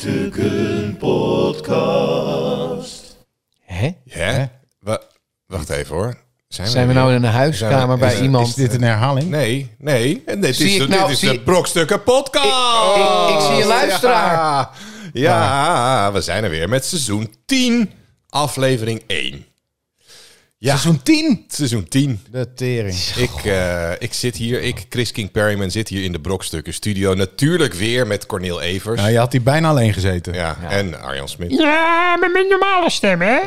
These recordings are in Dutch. Brokstukken Podcast. Hè? Hè? Wa- wacht even hoor. Zijn we nou in een Zijn huiskamer we- bij is- iemand? Is dit een herhaling? Nee, nee. En dit Zie is, ik de, nou- dit is zie- de Brokstukken Podcast. Ik- ik- ik zie een luisteraar. Ja, Ja, we zijn er weer met seizoen 10, aflevering 1. Ja, Seizoen 10. seizoen 10. De tering. Ik, eh, ik zit hier, ik, Chris King Perryman, zit hier in de Brokstukken Studio. Natuurlijk weer met Cornel Evers. Nou, Ja, je had die bijna alleen gezeten. en Arjan Smit. Ja, met mijn normale stem, hè?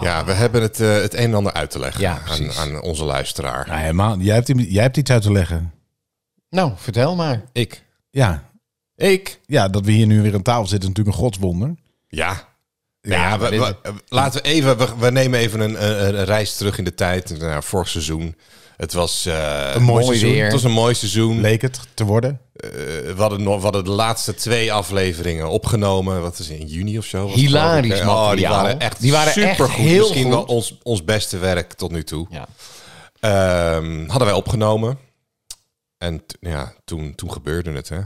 Ja, we hebben het, eh, het een en ander uit te leggen Ja, aan, precies. aan onze luisteraar. Nou, helemaal. Jij hebt, jij hebt iets uit te leggen. Nou, vertel maar. Ik. Ja. Ik. ja, dat we hier nu weer aan tafel zitten, is natuurlijk een godswonder. Ja. Ja, we, we- we- laten we even. We, we nemen even een, een, een reis terug in de tijd naar vorig seizoen. Het was, eh, Een mooi mooi seizoen. weer. het was een mooi seizoen. Leek het te worden. Eh, we, hadden nog, we hadden de laatste twee afleveringen opgenomen. Wat is het, in juni of zo? was het, geloof Hilarisch ik, hè? Oh, die materiaal. waren echt Die waren echt supergoed. heel Misschien wel goed. ons, ons beste werk tot nu toe. Ja. Ehm, hadden wij opgenomen. En t- ja, toen, toen gebeurde het. Hè?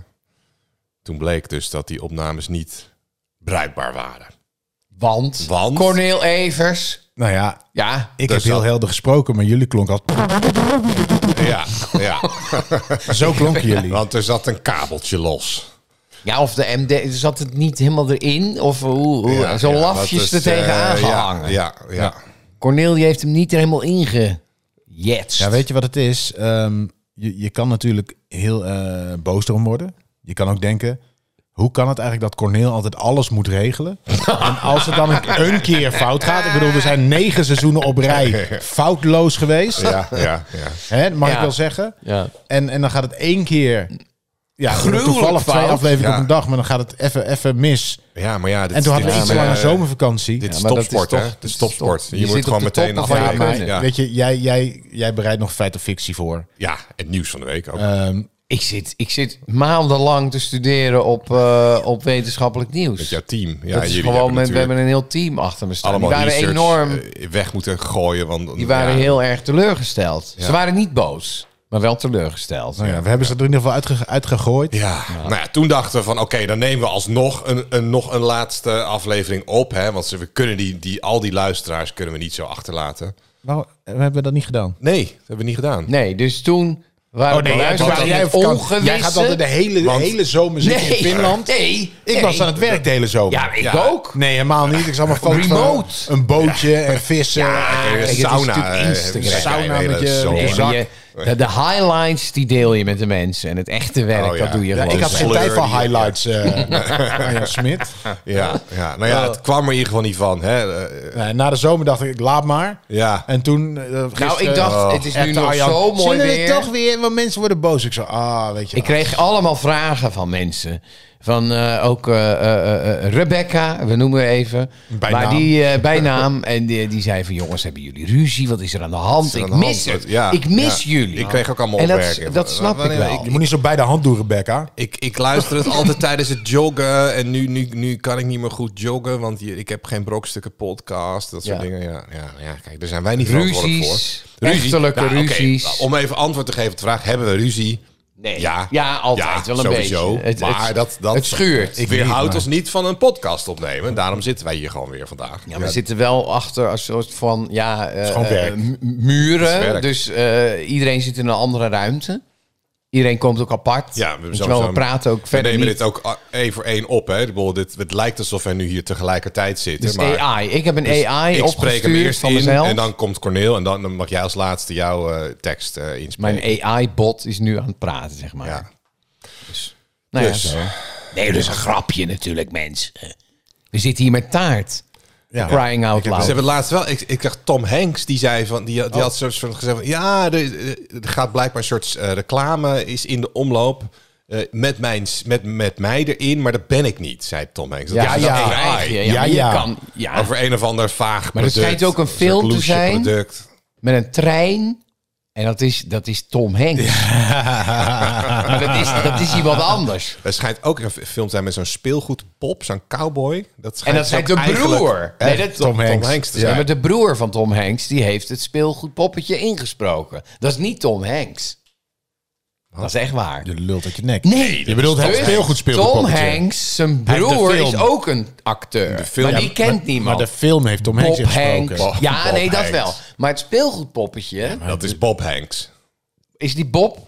Toen bleek dus dat die opnames niet bruikbaar waren. Want, Want? Corneel Evers. Nou ja, Ja, ik Daar heb heel zat- helder gesproken, maar jullie klonken als... Ja, ja. Zo klonken jullie. Want er zat een kabeltje los. ja, of de MD zat het niet helemaal erin. Of hoe, hoe, Ja, zo ja, dat lafjes is, er tegenaan eh, ja, gehangen. Ja, ja, Corneel die heeft hem niet er helemaal ingejetst. Ja, weet je wat het is? Ehm, je, je kan natuurlijk heel eh, boos erom worden. Je kan ook denken, hoe kan het eigenlijk dat Corneel altijd alles moet regelen? en als het dan een, een keer fout gaat... Ik bedoel, we zijn negen seizoenen op rij foutloos geweest. ja, ja, ja. Hè, mag Ja. ik wel zeggen? Ja. En, en dan gaat het één keer... Ja, Gruwelijk toevallig twee fout. afleveringen Ja. op een dag, maar dan gaat het even- even mis. Ja, maar ja. Dit, En toen hadden we dit iets is, te lange eh, zomervakantie. Dit is Ja, maar dat is topsport, toch- hè? Dit is topsport. Je Je, zit moet op gewoon de meteen toppen van je afwijken. kunnen. Ja, ja. Weet je, jij, jij, jij bereidt nog feit of fictie voor. het nieuws van de week ook. Ehm, Ik zit, ik zit maandenlang te studeren op, eh, op wetenschappelijk nieuws. met jouw team. Ja, dat is jullie gewoon met, hebben we hebben natuurlijk een heel team achter me staan. Die allemaal waren research, enorm, eh, weg moeten gooien. Want, die waren ja. heel erg teleurgesteld. Ja. Ze waren niet boos, maar wel teleurgesteld. nou ja, we hebben ze er in ieder geval uitge, uitgegooid. Ja, nou ja, toen dachten we van oké, dan nemen we alsnog een, een, nog een laatste aflevering op. Hè, want ze- we kunnen die, die, al die luisteraars kunnen we niet zo achterlaten. Nou, we hebben dat niet gedaan. Nee, dat hebben we niet gedaan. Nee, dus toen waren Oh nee, we jij, luisteraars jij, in jij, het vakantie. jij gaat altijd de hele, Want- hele zomer zitten nee, in Finland. Nee, Ik nee. was aan het werk de hele zomer. Ja, ik Ja. ook. Nee, helemaal niet. Ik zag maar foto's van Remote. een bootje en vissen. Kijk, Kijk, een het is sauna. natuurlijk eh, Instagram. een sauna hele met je- zomer. met Nee, je zak. maar je- de, de highlights die deel je met de mensen. En het echte werk, Oh, ja. dat doe je Ja, Ja, gewoon. ik had geen zelf. tijd voor Sleur die- highlights, eh Arjan Smit. Ja, ja, nou ja, het kwam er in ieder geval niet van. Hè. eh, Nee, na de zomer dacht ik, laat maar. Ja, En toen eh, Nou, gisteren- ik dacht, het is nu Echte nog Arjan, zo mooi Zullen we weer. toch weer, want mensen worden boos. Ik zo, ah, weet je Ik wel. kreeg allemaal vragen van mensen. Van eh, ook eh, eh, eh, Rebecca, we noemen haar even. Bij maar naam. die eh, bij naam. En die, die zei van jongens, hebben jullie ruzie? Wat is er aan de hand? Ik aan de mis hand? het. Ja, ik mis ja. jullie. Ik kreeg ook allemaal en dat, opmerkingen. dat snap ik Wanneer- wel. ik- Je moet niet zo bij de hand doen, Rebecca. Ik, ik luister het altijd tijdens het joggen. En nu, nu, nu kan ik niet meer goed joggen, want je- ik heb geen brokstukken podcast. Dat soort Ja. dingen. Ja, ja, ja, kijk, daar zijn wij niet verantwoordelijk voor. ruzies, echtelijke Nou, oké, ruzies. Om even antwoord te geven op de vraag, hebben we ruzie? Nee. Ja. altijd Ja, wel een sowieso. beetje. Het, Maar het, dat- dat- het schuurt. Ik weerhoud ons niet van een podcast opnemen. Daarom zitten wij hier gewoon weer vandaag. Ja, we zitten wel achter een soort van ja, eh, gewoon eh, werk. mu- Het is muren. werk. Dus eh, iedereen zit in een andere ruimte. Iedereen komt ook apart. Ja, we, Weet je zo- wel, zo- we praten ook verder We nemen niet. dit ook a- één voor één op. Hè. Ik bedoel, dit, het lijkt alsof wij nu hier tegelijkertijd zitten. Dus maar AI. Ik heb een AI ik spreek hem opgestuurd eerst van in mezelf. en dan komt Corneel. En dan dan mag jij als laatste jouw eh, tekst eh inspreken. Mijn e- AI-bot is nu aan het praten, zeg maar. Ja. Nou ja, Dus. zo. Nee, dat is een grapje natuurlijk, mensen. We zitten hier met taart. Ja. dus Crying out Ze loud. hebben laatst wel. Ik, ik dacht Tom Hanks die zei van die, Oh. die had zo'n soort gezegd van ja, er, eh, er gaat blijkbaar een soort eh, reclame is in de omloop. eh, met, mijn, s- met, met mij erin, maar dat ben ik niet, zei Tom Hanks. Dat Ja, is dus ja, een AI. krijg je. Ja, maar je ja. kan- ja. Over een of ander vaag Maar er product, schijnt ook een soort film te loesje zijn. Product. Met een trein En dat is, dat is Tom Hanks. maar dat is, dat is iemand anders. Er schijnt ook een film te zijn met zo'n speelgoedpop, zo'n cowboy. Dat schijnt En dat dus zijn ook de eigenlijk, broer. hè, Nee, dat- Tom, Tom Hanks. te Ja, zijn. maar de broer van Tom Hanks, die heeft het speelgoedpoppetje ingesproken. Dat is niet Tom Hanks. Dat is echt waar. Je lult uit je nek. Nee, Je bedoelt het Dus speelgoed Tom speelgoedpoppetje. Hanks, zijn Hij heeft de broer, is film. ook een acteur. film- maar die Ja, kent maar, niemand. Maar de film heeft Tom Hanks Bob ingesproken. Hanks. Ja, Bob nee, dat Hanks. wel. Maar het speelgoedpoppetje, Dat is Bob Hanks. is die Bob?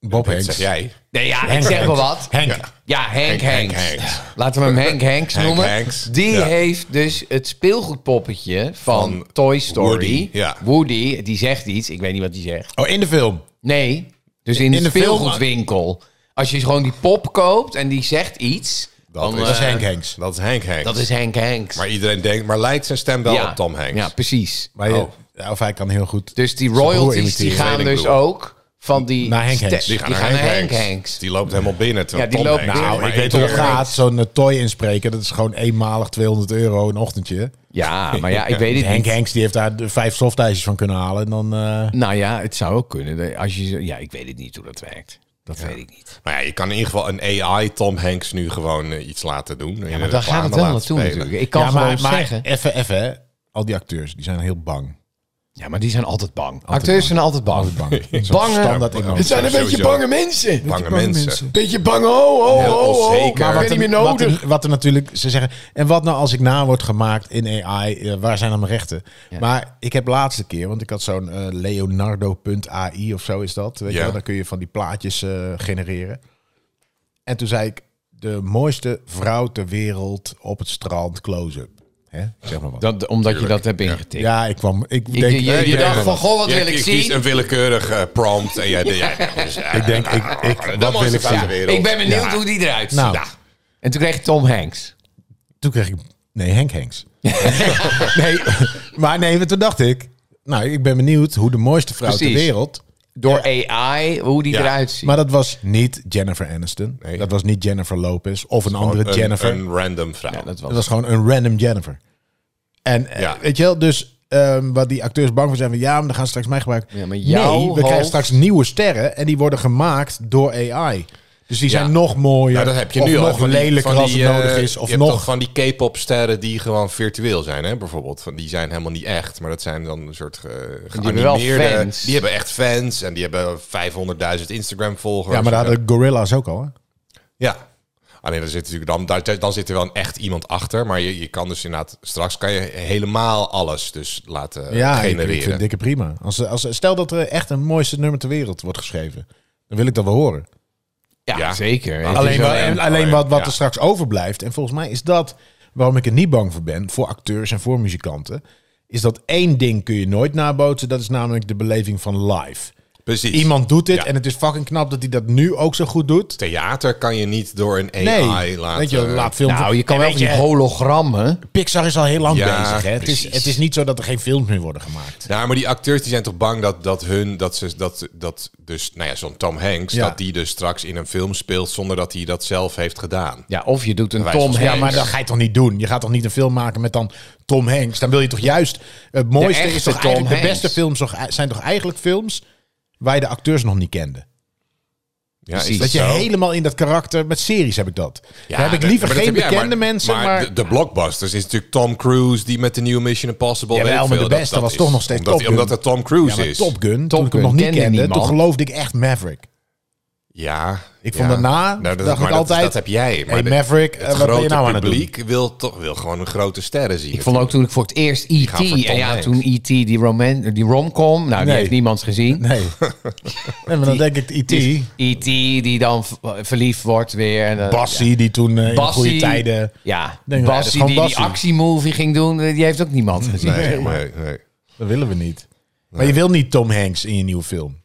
Bob Dat Hanks. zeg jij. Nee, ja, ik zeg maar wat. Henk. Ja, Henk Henk Hanks. Hanks. Laten we hem Henk Hanks Henk noemen. Hanks, Die ja. heeft dus het speelgoedpoppetje van, Van Toy Story. Woody, ja. Woody, die zegt iets. Ik weet niet wat die zegt. Oh, in de film. Nee, dus in, In de de film- speelgoedwinkel. Als je dus gewoon die pop koopt en die zegt iets, dan, Dat is eh, Henk Hanks. Dat is Hank Hanks. dat is Henk Hanks. Maar iedereen denkt, maar lijkt zijn stem wel op Tom Hanks. Ja, precies. Maar je- Oh. ja, Of hij kan heel goed. Dus die zijn broer royalties die imiteren. gaan Tweelingbroer. dus ook van die... Naar Henk ste- Hanks. Die gaan naar Henk Hanks. Die loopt helemaal binnen. terwijl Ja, die Tom loopt Hanks binnen. alleen Nou, maar ik weet hoe één het toren heeft. gaat. Zo'n eh, toy inspreken, dat is gewoon eenmalig 200 euro een ochtendje. Ja, maar ja, ik weet het Henk niet. Hanks die heeft daar de vijf softijsjes van kunnen halen. En dan, eh, Nou ja, het zou ook kunnen. dat Als je, zo- ja, ik weet het niet hoe dat werkt. Dat weet ik niet. Maar ja, je kan in ieder geval een AI Tom Hanks nu gewoon eh, iets laten doen. Maar Maar daar gaat het wel naartoe natuurlijk. Ik kan ja, gewoon maar, maar zeggen... even, even. hè. Al die acteurs, die zijn heel bang. Ja, maar die zijn altijd bang. Acteurs zijn altijd bang. Altijd bang. Dat is een Bange- standaard emotie. Het zijn een beetje Sowieso. bange mensen. Bange mensen. Beetje bang, oh, oh, Heel oh, oh. onzeker. Maar Maar ik wat ben niet meer Wat nodig. er, wat er natuurlijk, ze zeggen, en wat nou als ik na word gemaakt in AI, eh, waar zijn dan mijn rechten? Maar ik heb laatste keer, want ik had zo'n eh, Leonardo.ai of zo is dat, weet je Ja. wel, dan kun je van die plaatjes eh, genereren. En toen zei ik, de mooiste vrouw ter wereld op het strand, close-up. Hè? Ik Zeg maar wat. Dat, omdat je dat hebt ingetikt. ja, ik kwam, ik Je- denk, je, je, ja, dacht ja. van, goh, wat wil ik kiest zien? een willekeurig eh, prompt en jij... jij ik denk, ik, ik, dat wat wil ik van de zeggen? wereld. Ik ben benieuwd Ja. hoe die eruit ziet. Nou. Ja. En toen kreeg je Tom Hanks. Toen kreeg ik... Nee, Henk Henks. nee, maar nee, want toen dacht ik... Nou, ik ben benieuwd hoe de mooiste vrouw Precies. ter wereld... Door AI, hoe die Ja. eruit ziet. Maar dat was niet Jennifer Aniston. Nee. Dat was niet Jennifer Lopez of een andere Een- Jennifer. Een random vrouw. ja, dat Dat was... was gewoon een random Jennifer. En eh, Ja. weet je wel, dus ehm, wat die acteurs bang voor zijn... Van, ja, maar dan gaan ze straks mij gebruiken. Ja, maar jouw nee, we hoofd- krijgen straks nieuwe sterren... en die worden gemaakt door AI. Dus die zijn nog mooier. Nou, dat heb je of nu al, nog van die- lelijker van als het die, eh, nodig is. je Of hebt toch nog... van die K-pop sterren die gewoon virtueel zijn, hè? Bijvoorbeeld, van die zijn helemaal niet echt, maar dat zijn dan een soort eh hebben wel geanimeerde- fans. Die hebben echt fans en die hebben 500.000 Instagram volgers. Ja, maar daar hadden gorilla's ook al, hè? Ja. Alleen dan zit natuurlijk dan, daar, dan zit er wel een echt iemand achter, maar je, je kan dus inderdaad straks kan je helemaal alles dus laten Ja, ik- ik vind genereren. dikke prima. Als, als, stel dat er echt een mooiste nummer ter wereld wordt geschreven. Dan wil ik dat wel horen. Ja, Ja. zeker. Het is Alleen, wel- oh wel- en- alleen- alleen wat, wat ja. er straks overblijft. En volgens mij is dat waarom ik er niet bang voor ben. Voor acteurs en voor muzikanten. Is dat één ding kun je nooit nabootsen. Dat is namelijk de beleving van live. Precies. Iemand doet dit Ja. en het is fucking knap dat hij dat nu ook zo goed doet. Dus Theater kan je niet door een AI Nee, laten. eh, weet je, laat films. Nou, je kan En wel weet van die hologrammen. Pixar is al heel lang Ja, bezig. Hè? Het, is, precies. het is niet zo dat er geen films meer worden gemaakt. Ja, maar die acteurs die zijn toch bang dat, dat hun, dat ze, dat, dat dus, nou ja, zo'n Tom Hanks, Ja. dat die dus straks in een film speelt zonder dat hij dat zelf heeft gedaan. Ja, of je doet een Wijs Tom van- Hanks. Ja, Ja, maar dat ga je toch niet doen? Je gaat toch niet een film maken met dan Tom Hanks? Dan wil je toch juist... eh, Het mooiste echte is toch Tom eigenlijk... De Hanks. beste films toch- zijn toch eigenlijk films... waar je de acteurs nog niet kende? Ja, Precies. Dat je zo? helemaal in dat karakter... Met series heb ik dat. Ja, Daar heb ik dat- liever maar dat geen heb jij, bekende maar- mensen, maar... de, de blockbusters is natuurlijk Tom Cruise die met de nieuwe Mission Impossible. Jawel, weet ik maar veel, de beste was is- toch nog steeds omdat, Top Gun. Omdat het Tom ja, Cruise maar is. Top Gun, Top toen ik hem Gun nog niet kende kende... niemand. toen geloofde ik echt Maverick. Ja. Ik vond ja. Nou, daarna, dat, dacht maar ik dat- altijd, Dat, heb jij. hey, de- Maverick, eh, het wat ben je grote nou aan het doen? publiek wil toch wil gewoon een grote sterren zien. Ik vond ook toen ik voor het eerst E.T. gaan voor Tom En ja, Hanks. toen E.T. die, roman, die romcom. Nou, die Nee. heeft niemand gezien. Nee. nee, maar dan denk ik E E.T. E.T. die dan v- verliefd wordt weer. En, dan- Bassie, die toen eh, in Bassie. goede tijden... Ja, Denk Bassie ik, ja, dat is gewoon die die Bassie. actiemovie ging doen, eh, die heeft ook niemand gezien. Nee, nee, nee. Dat willen we niet. Maar je wil niet Tom Hanks in je nieuwe film.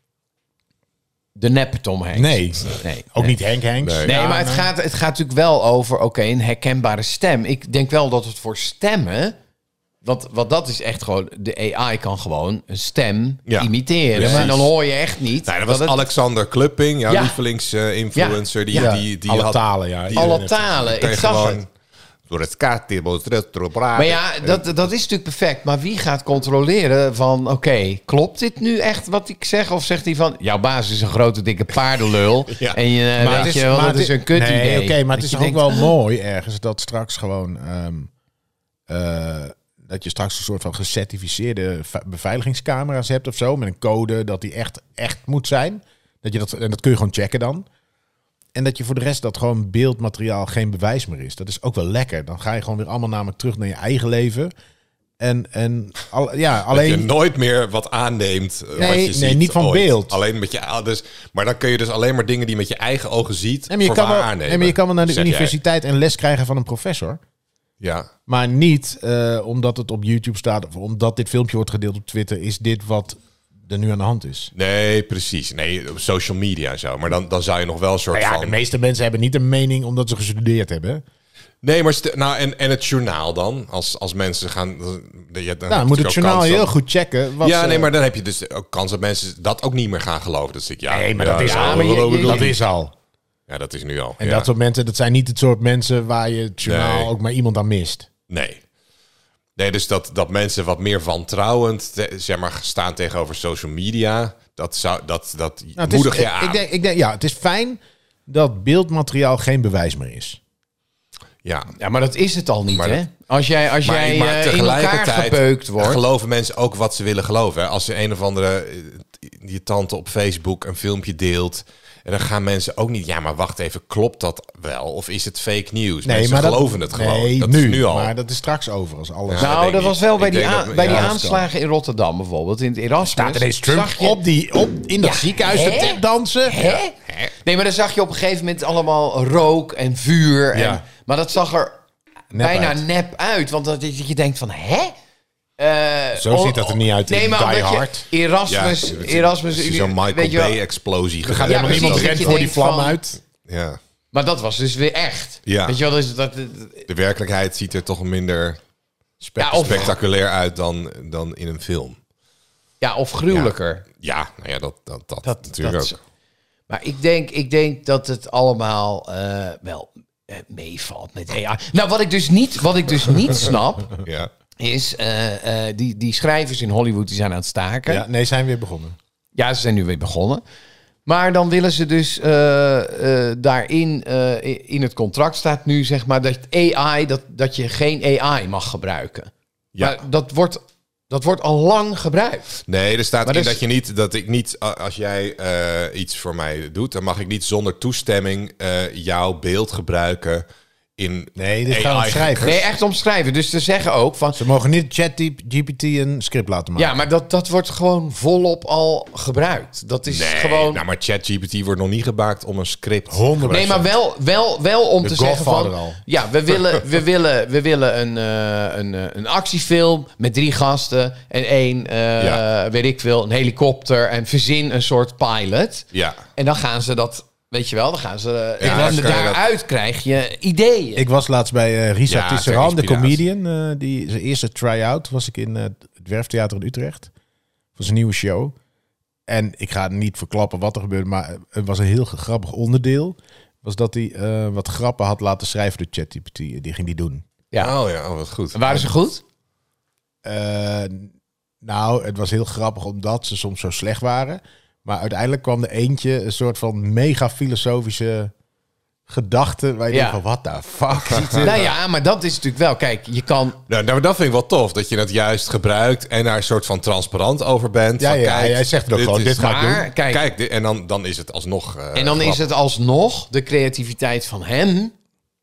De nep Tom Hanks. Nee. nee. Ook niet Henk Hanks. Nee. Nee, Ja, maar het gaat, het gaat natuurlijk wel over, oké, een herkenbare stem. Ik denk wel dat het voor stemmen, want, want dat is echt gewoon, de AI kan gewoon een stem Ja. imiteren. Precies. en dan hoor je echt niet. Nee, dat was het- Alexander Klupping, jouw Ja. lievelings lievelingsinfluencer. Ja. die, Ja. die, die, Alle had talen, ja. die- Iedereen alle heeft het. eh, talen. tegen Ik zag gewoon het. Maar Maar ja, dat, dat is natuurlijk perfect. Maar wie gaat controleren van... oké, klopt dit nu echt wat ik zeg? Of zegt hij van... jouw baas is een grote dikke paardenlul. Ja. En je, eh, weet je wel, dat is een kut idee. Nee, oké, maar het Dat is je ook denkt, wel mooi ergens dat straks gewoon... ehm, eh, dat je straks een soort van gecertificeerde ve- beveiligingscamera's hebt of zo. Met een code dat die echt, echt moet zijn. Dat je dat, en dat kun je gewoon checken dan. En dat je voor de rest dat gewoon beeldmateriaal geen bewijs meer is. Dat is ook wel lekker. Dan ga je gewoon weer allemaal namelijk terug naar je eigen leven. En, en al, ja, Alleen... alleen... je nooit meer wat aanneemt. eh, Nee, wat je nee, ziet niet van ooit. beeld. Alleen met je a- dus, Maar dan kun je dus alleen maar dingen die je met je eigen ogen ziet. Nee, maar je, voor kan waar wel, aannemen. nee, maar je kan wel naar de Zeg jij. universiteit en les krijgen van een professor. Ja. Maar niet eh, omdat het op YouTube staat of omdat dit filmpje wordt gedeeld op Twitter, is dit wat er nu aan de hand is. Nee, precies. Nee, op social media en zo. Maar dan, dan zou je nog wel een soort Nou Maar Nou ja, van. de meeste mensen hebben niet een mening omdat ze gestudeerd hebben. Nee, maar st- nou, en, en het journaal dan? Als, als mensen gaan. Dan, ja, dan heb je Nou, dan moet het natuurlijk ook journaal kans heel dat- goed checken. Wat Ja, ze- nee, maar dan heb je dus ook kans dat mensen dat ook niet meer gaan geloven. Dus ik, ja, Nee, maar ja, dat, is ja, al, maar je- je- dat is al. ja, dat is nu al. En ja. dat soort mensen, dat zijn niet het soort mensen waar je het journaal Nee. ook maar iemand aan mist. Nou, Nee. Nee, dus dat, dat mensen wat meer wantrouwend te- zeg maar, staan tegenover social media, dat, zou, dat, dat Nou, het moedig is, je ik- aan. Ik denk, ik denk, ja, het is fijn dat beeldmateriaal geen bewijs meer is. ja. Ja, maar dat is het al niet, Maar hè? dat- als jij, als jij eh, in elkaar gepeukt wordt... geloven mensen ook wat ze willen geloven. Hè? Als er een of andere eh, je tante op Facebook een filmpje deelt. En dan gaan mensen ook niet. Ja, maar wacht even, klopt dat wel? Of is het fake news? mensen dat- geloven het gewoon. nee, dat nu, is nu al. Maar dat is straks over als alles. Ja. dat weet nou, ik dat niet. was wel bij Ik die, denk aan- dat- bij ja, die dat kan. aanslagen in Rotterdam bijvoorbeeld. In het Erasmus. Staat ineens Trump Dus zag je- op, die, op in dat Ja, ziekenhuis hè? te dansen? Hè? Nee, maar dan zag je op een gegeven moment allemaal rook en vuur. En, Ja. Maar dat zag er Nep bijna uit. nep uit. Want dat, dat je denkt van, hè? Eh, Zo ziet dat er niet uit in omdat Die je Hard. Erasmus, het is- Erasmus... het is zo'n weet je Michael wel. Er Bay-explosie. gaat Ja, helemaal precies, niemand dat rent je voor die denkt vlam van- uit. Ja. Maar dat was dus weer echt. Ja. Weet je wel, dus dat... De werkelijkheid ziet er toch minder spe- Ja, of- spectaculair uit dan, dan in een film. Ja, of gruwelijker. Ja, nou ja, dat, dat, dat, Dat, natuurlijk dat ook. is- Maar ik denk, ik denk dat het allemaal eh, wel eh, meevalt met AI. Nou, wat ik dus niet, wat ik dus niet snap, Ja. is eh, eh, die, die schrijvers in Hollywood die zijn aan het staken. Ja, Ja. nee, zijn weer begonnen. ze zijn nu weer begonnen. Maar dan willen ze dus eh, eh, daarin, eh, i- in het contract staat nu zeg maar dat AI, dat, dat je geen AI mag gebruiken. Ja. Maar dat wordt, dat wordt al lang gebruikt. Nee, er staat Maar in dus- dat je niet dat ik niet a- als jij eh, iets voor mij doet, dan mag ik niet zonder toestemming eh, jouw beeld gebruiken in Nee, dit gaan AI. we schrijven. Nee, echt omschrijven. Dus ze zeggen ook van, Ze mogen niet ChatGPT een script laten maken. Ja, maar dat, dat wordt gewoon volop al gebruikt. Dat is Nee, gewoon. nou, maar ChatGPT wordt nog niet gemaakt om een script. 100%. nee, maar wel, wel, wel om te zeggen van. Godfather al. Ja, we willen, we willen, we willen een, eh, een, eh, een actiefilm met drie gasten en één, eh, Ja. weet ik veel, een helikopter en verzin een soort pilot. Ja. En dan gaan ze dat, weet je wel, dan gaan ze. eh, Ja, en dan dan kan je dat- daaruit krijg je ideeën. Ik was laatst bij eh Risa Ja, Tisserand, de ter inspiratie. comedian. eh, die, zijn eerste try-out was ik in eh, het Werftheater in Utrecht. Voor zijn nieuwe show. En ik ga niet verklappen wat er gebeurde, maar het was een heel grappig onderdeel. Was dat hij eh, wat grappen had laten schrijven door ChatGPT. Die ging die doen. Ja. Oh ja, oh, wat goed. Waren ze goed? Eh, nou, het was heel grappig omdat ze soms zo slecht waren. Maar uiteindelijk kwam er eentje een soort van mega filosofische gedachte. Waar je Ja. denkt van, what the fuck? zit dit? Nou ja, maar dat is natuurlijk wel. Kijk, je kan Nou, nou, dat vind ik wel tof dat je dat juist gebruikt en daar een soort van transparant over bent. Ja, van, ja, kijk, hij zegt het ook dit gewoon, is- dit ga ik Maar, doen. kijk, Kijk, dit- en dan, dan is het alsnog. eh, en dan is grappig. het alsnog de creativiteit van hem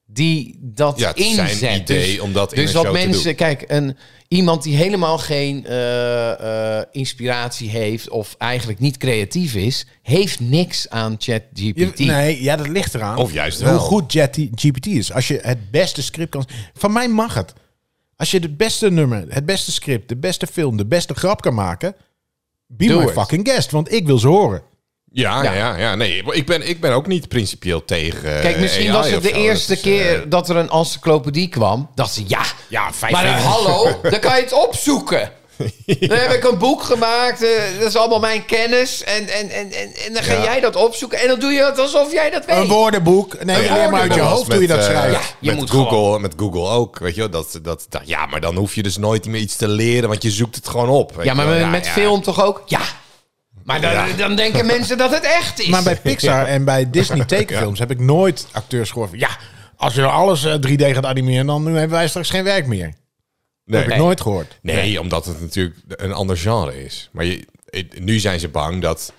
die dat Ja, het is zijn inzet. idee dus om dat in dus een dat show te mensen, doen. kijk, een, iemand die helemaal geen eh, eh, inspiratie heeft of eigenlijk niet creatief is, heeft niks aan Je- ChatGPT. nee, ja, dat ligt eraan. Of juist Hoe wel. goed GPT is. Als je het beste script kan... Van mij mag het. Als je het beste nummer, het beste script, de beste film, de beste grap kan maken... Be Doe my het. fucking guest, want ik wil ze horen. Ja, ja, Ja. ja. Nee, ik ben, ik ben ook niet principieel tegen. eh, Kijk, misschien AI was het of de zo. Dat eerste is, eh, keer dat er een encyclopedie kwam, dat ze ja, Ja, vijf maar jaar. hallo, dan kan je het opzoeken. Dan heb ik een boek gemaakt, eh, dat is allemaal mijn kennis. En, en, en, en, en dan ga Ja. jij dat opzoeken en dan doe je het alsof jij dat weet. Een woordenboek. Nee, Ja, alleen maar uit je dat was hoofd hoe je met, dat eh, schrijft. je met moet Google, gewoon- met Google ook, weet je wel, dat, dat, dat, ja, maar dan hoef je dus nooit meer iets te leren, want je zoekt het gewoon op. weet ja, je maar wel. met, met ja. film toch ook? Ja. Maar dan, Ja. dan denken mensen dat het echt is. Maar bij Pixar en bij Disney tekenfilms heb ik nooit acteurs gehoord van... Ja, als je nou alles eh, 3D gaat animeren, dan hebben wij straks geen werk meer. Dat Nee. heb ik nooit gehoord. Nee, omdat het natuurlijk een ander genre is. Maar je, eh, nu zijn ze bang dat,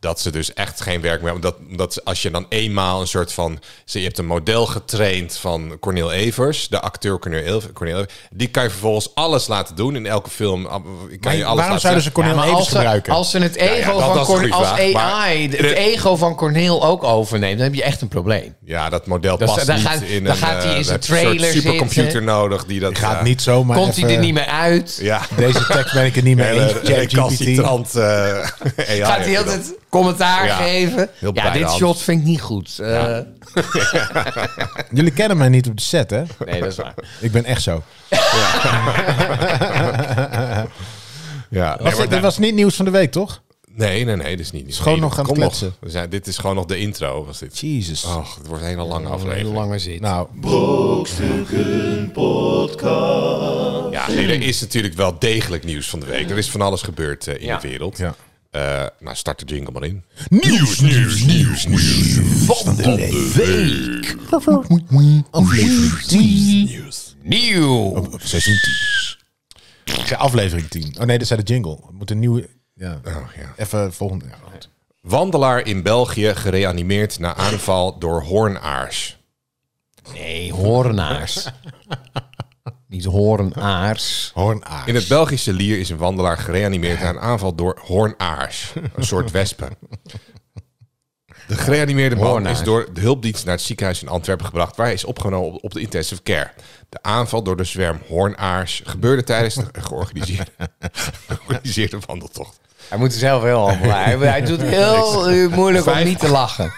dat ze dus echt geen werk meer hebben. Omdat, omdat ze- als je dan eenmaal een soort van... ze- Je hebt een model getraind van Cornel Evers, de acteur Cornel Evers. Cornel Evers die kan je vervolgens alles laten doen in elke film. ab- Kan je Maar alles waarom zouden laten ze zeggen. Cornel Ja, maar Evers als ze, gebruiken? als ze het ego ja, dat- dat van is een Cornel, goede als AI, vraag, maar- het ego van Corneel ook overneemt, dan heb je echt een probleem. Ja, dat model Dus past daar niet gaat- in daar een, gaat hij in eh, zijn heb je Een trailer soort supercomputer zitten. nodig die dat... Gaat ja, niet zomaar Komt hij er even- niet meer uit? Ja, Deze tekst ben ik er niet mee eens. hele ChatGPT. recalcitrant eh AI Gaat hij heb je dan. altijd commentaar Ja. geven? Heel Ja, dit bijna. shot vind ik niet goed. Eh, Jullie kennen mij niet op de set, hè? Nee, dat is waar. Ik ben echt zo. Ja, nee, Was, maar dit daar- was niet nieuws van de week, toch? Nee, nee, nee, dit is niet. is gewoon nee, nog dit- aan het kom kletsen. We zijn, dit is gewoon nog de intro. Was dit. Jezus. Och, het wordt een hele lange Een aflevering. lange zit. Nou, Brokstukken Podcast. Ja, nee, er is natuurlijk wel degelijk nieuws van de week. Er is van alles gebeurd eh, in Ja. de wereld. Ja. Eh, nou, start de jingle maar in. nieuws, nieuws, nieuws, nieuws. Van de week. Aflevering 10. Nieuw! Seizoen 10. Ik zei aflevering 10. Oh nee, dat zei de jingle. Het moet een nieuwe... Oh, Ja. ja. Even volgende. Ja, goed. Wandelaar in België gereanimeerd na aanval door hoornaars. Nee, hoornaars. niet hoornaars. Hoornaars. In het Belgische Lier is een wandelaar gereanimeerd na een aanval door hoornaars. Een soort wespen. De gereanimeerde man Hoornaars. is door de hulpdienst naar het ziekenhuis in Antwerpen gebracht... waar hij is opgenomen op- op de intensive care. De aanval door de zwerm hoornaars gebeurde tijdens de georganiseerde, georganiseerde wandeltocht. Hij moet er zelf wel allemaal Hij, hij doet het heel eh, moeilijk om Vijf. niet te lachen.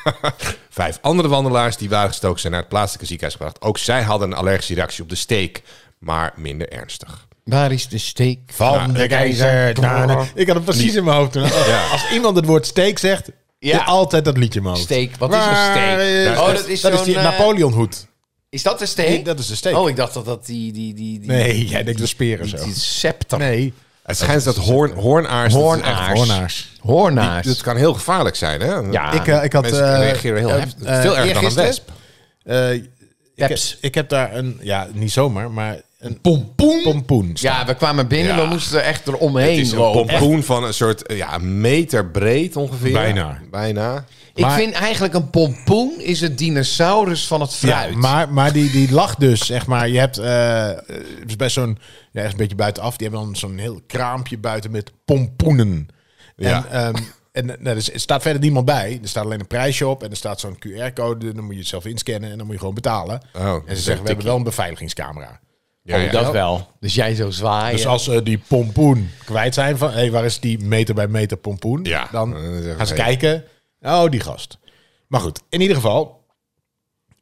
Vijf andere wandelaars die waren gestoken zijn naar het plaatselijke ziekenhuis gebracht. Ook zij hadden een allergische reactie op de steek, maar minder ernstig. Waar is de steek? Van de keizer. Daarna. Ik had het precies in mijn hoofd. toen. Als iemand het woord steek zegt, Ja. ja. altijd dat liedje in mijn hoofd. Steek, wat is een Waar steek? is- Oh, dat is, die zo'n, eh, Napoleonhoed. Is dat de steek? Dat is de steek. Oh, ik dacht dat dat die... die, die, die Nee, jij denkt de speren die, zo. die scepter. Nee. Het schijnt dat hoorn, hoornaars... dat is echt- dus Hoornaars. Hoornaars. Hoornaars. Dat kan heel gevaarlijk zijn, hè? Ja. Ik, eh, ik had... Mensen eh, reageren heel eh, heftig. eh, Veel erger dan een eergisteren, wesp. eh, ik, heb, Peps. ik heb daar een... Ja, niet zomaar, maar... Een pompoen? Pompoen. staan. Ja, we kwamen binnen, Ja. we moesten er echt eromheen Het is een lopen. pompoen van een soort eh, ja, een meter breed ongeveer. Bijna. Bijna. Ik Maar- vind eigenlijk een pompoen is het dinosaurus van het fruit. Ja, maar maar die, die lag dus, zeg maar. Je hebt eh, eh, het is best zo'n, ja, echt een beetje buitenaf. Die hebben dan zo'n heel kraampje buiten met pompoenen. Ja. En, ehm, en eh, nou, er staat verder niemand bij. Er staat alleen een prijsje op en er staat zo'n QR-code. Dan moet je het zelf inscannen en dan moet je gewoon betalen. Oh, en dat is ze een zeggen, we hebben wel een beveiligingscamera. Ja, ja. oh, dat wel. Dus jij zo zwaaien. Dus als ze die pompoen kwijt zijn van, hé, hey, waar is die meter bij meter pompoen? Ja. Dan Dan zeggen gaan ze we, hey. kijken. Oh, die gast. Maar goed, in ieder geval,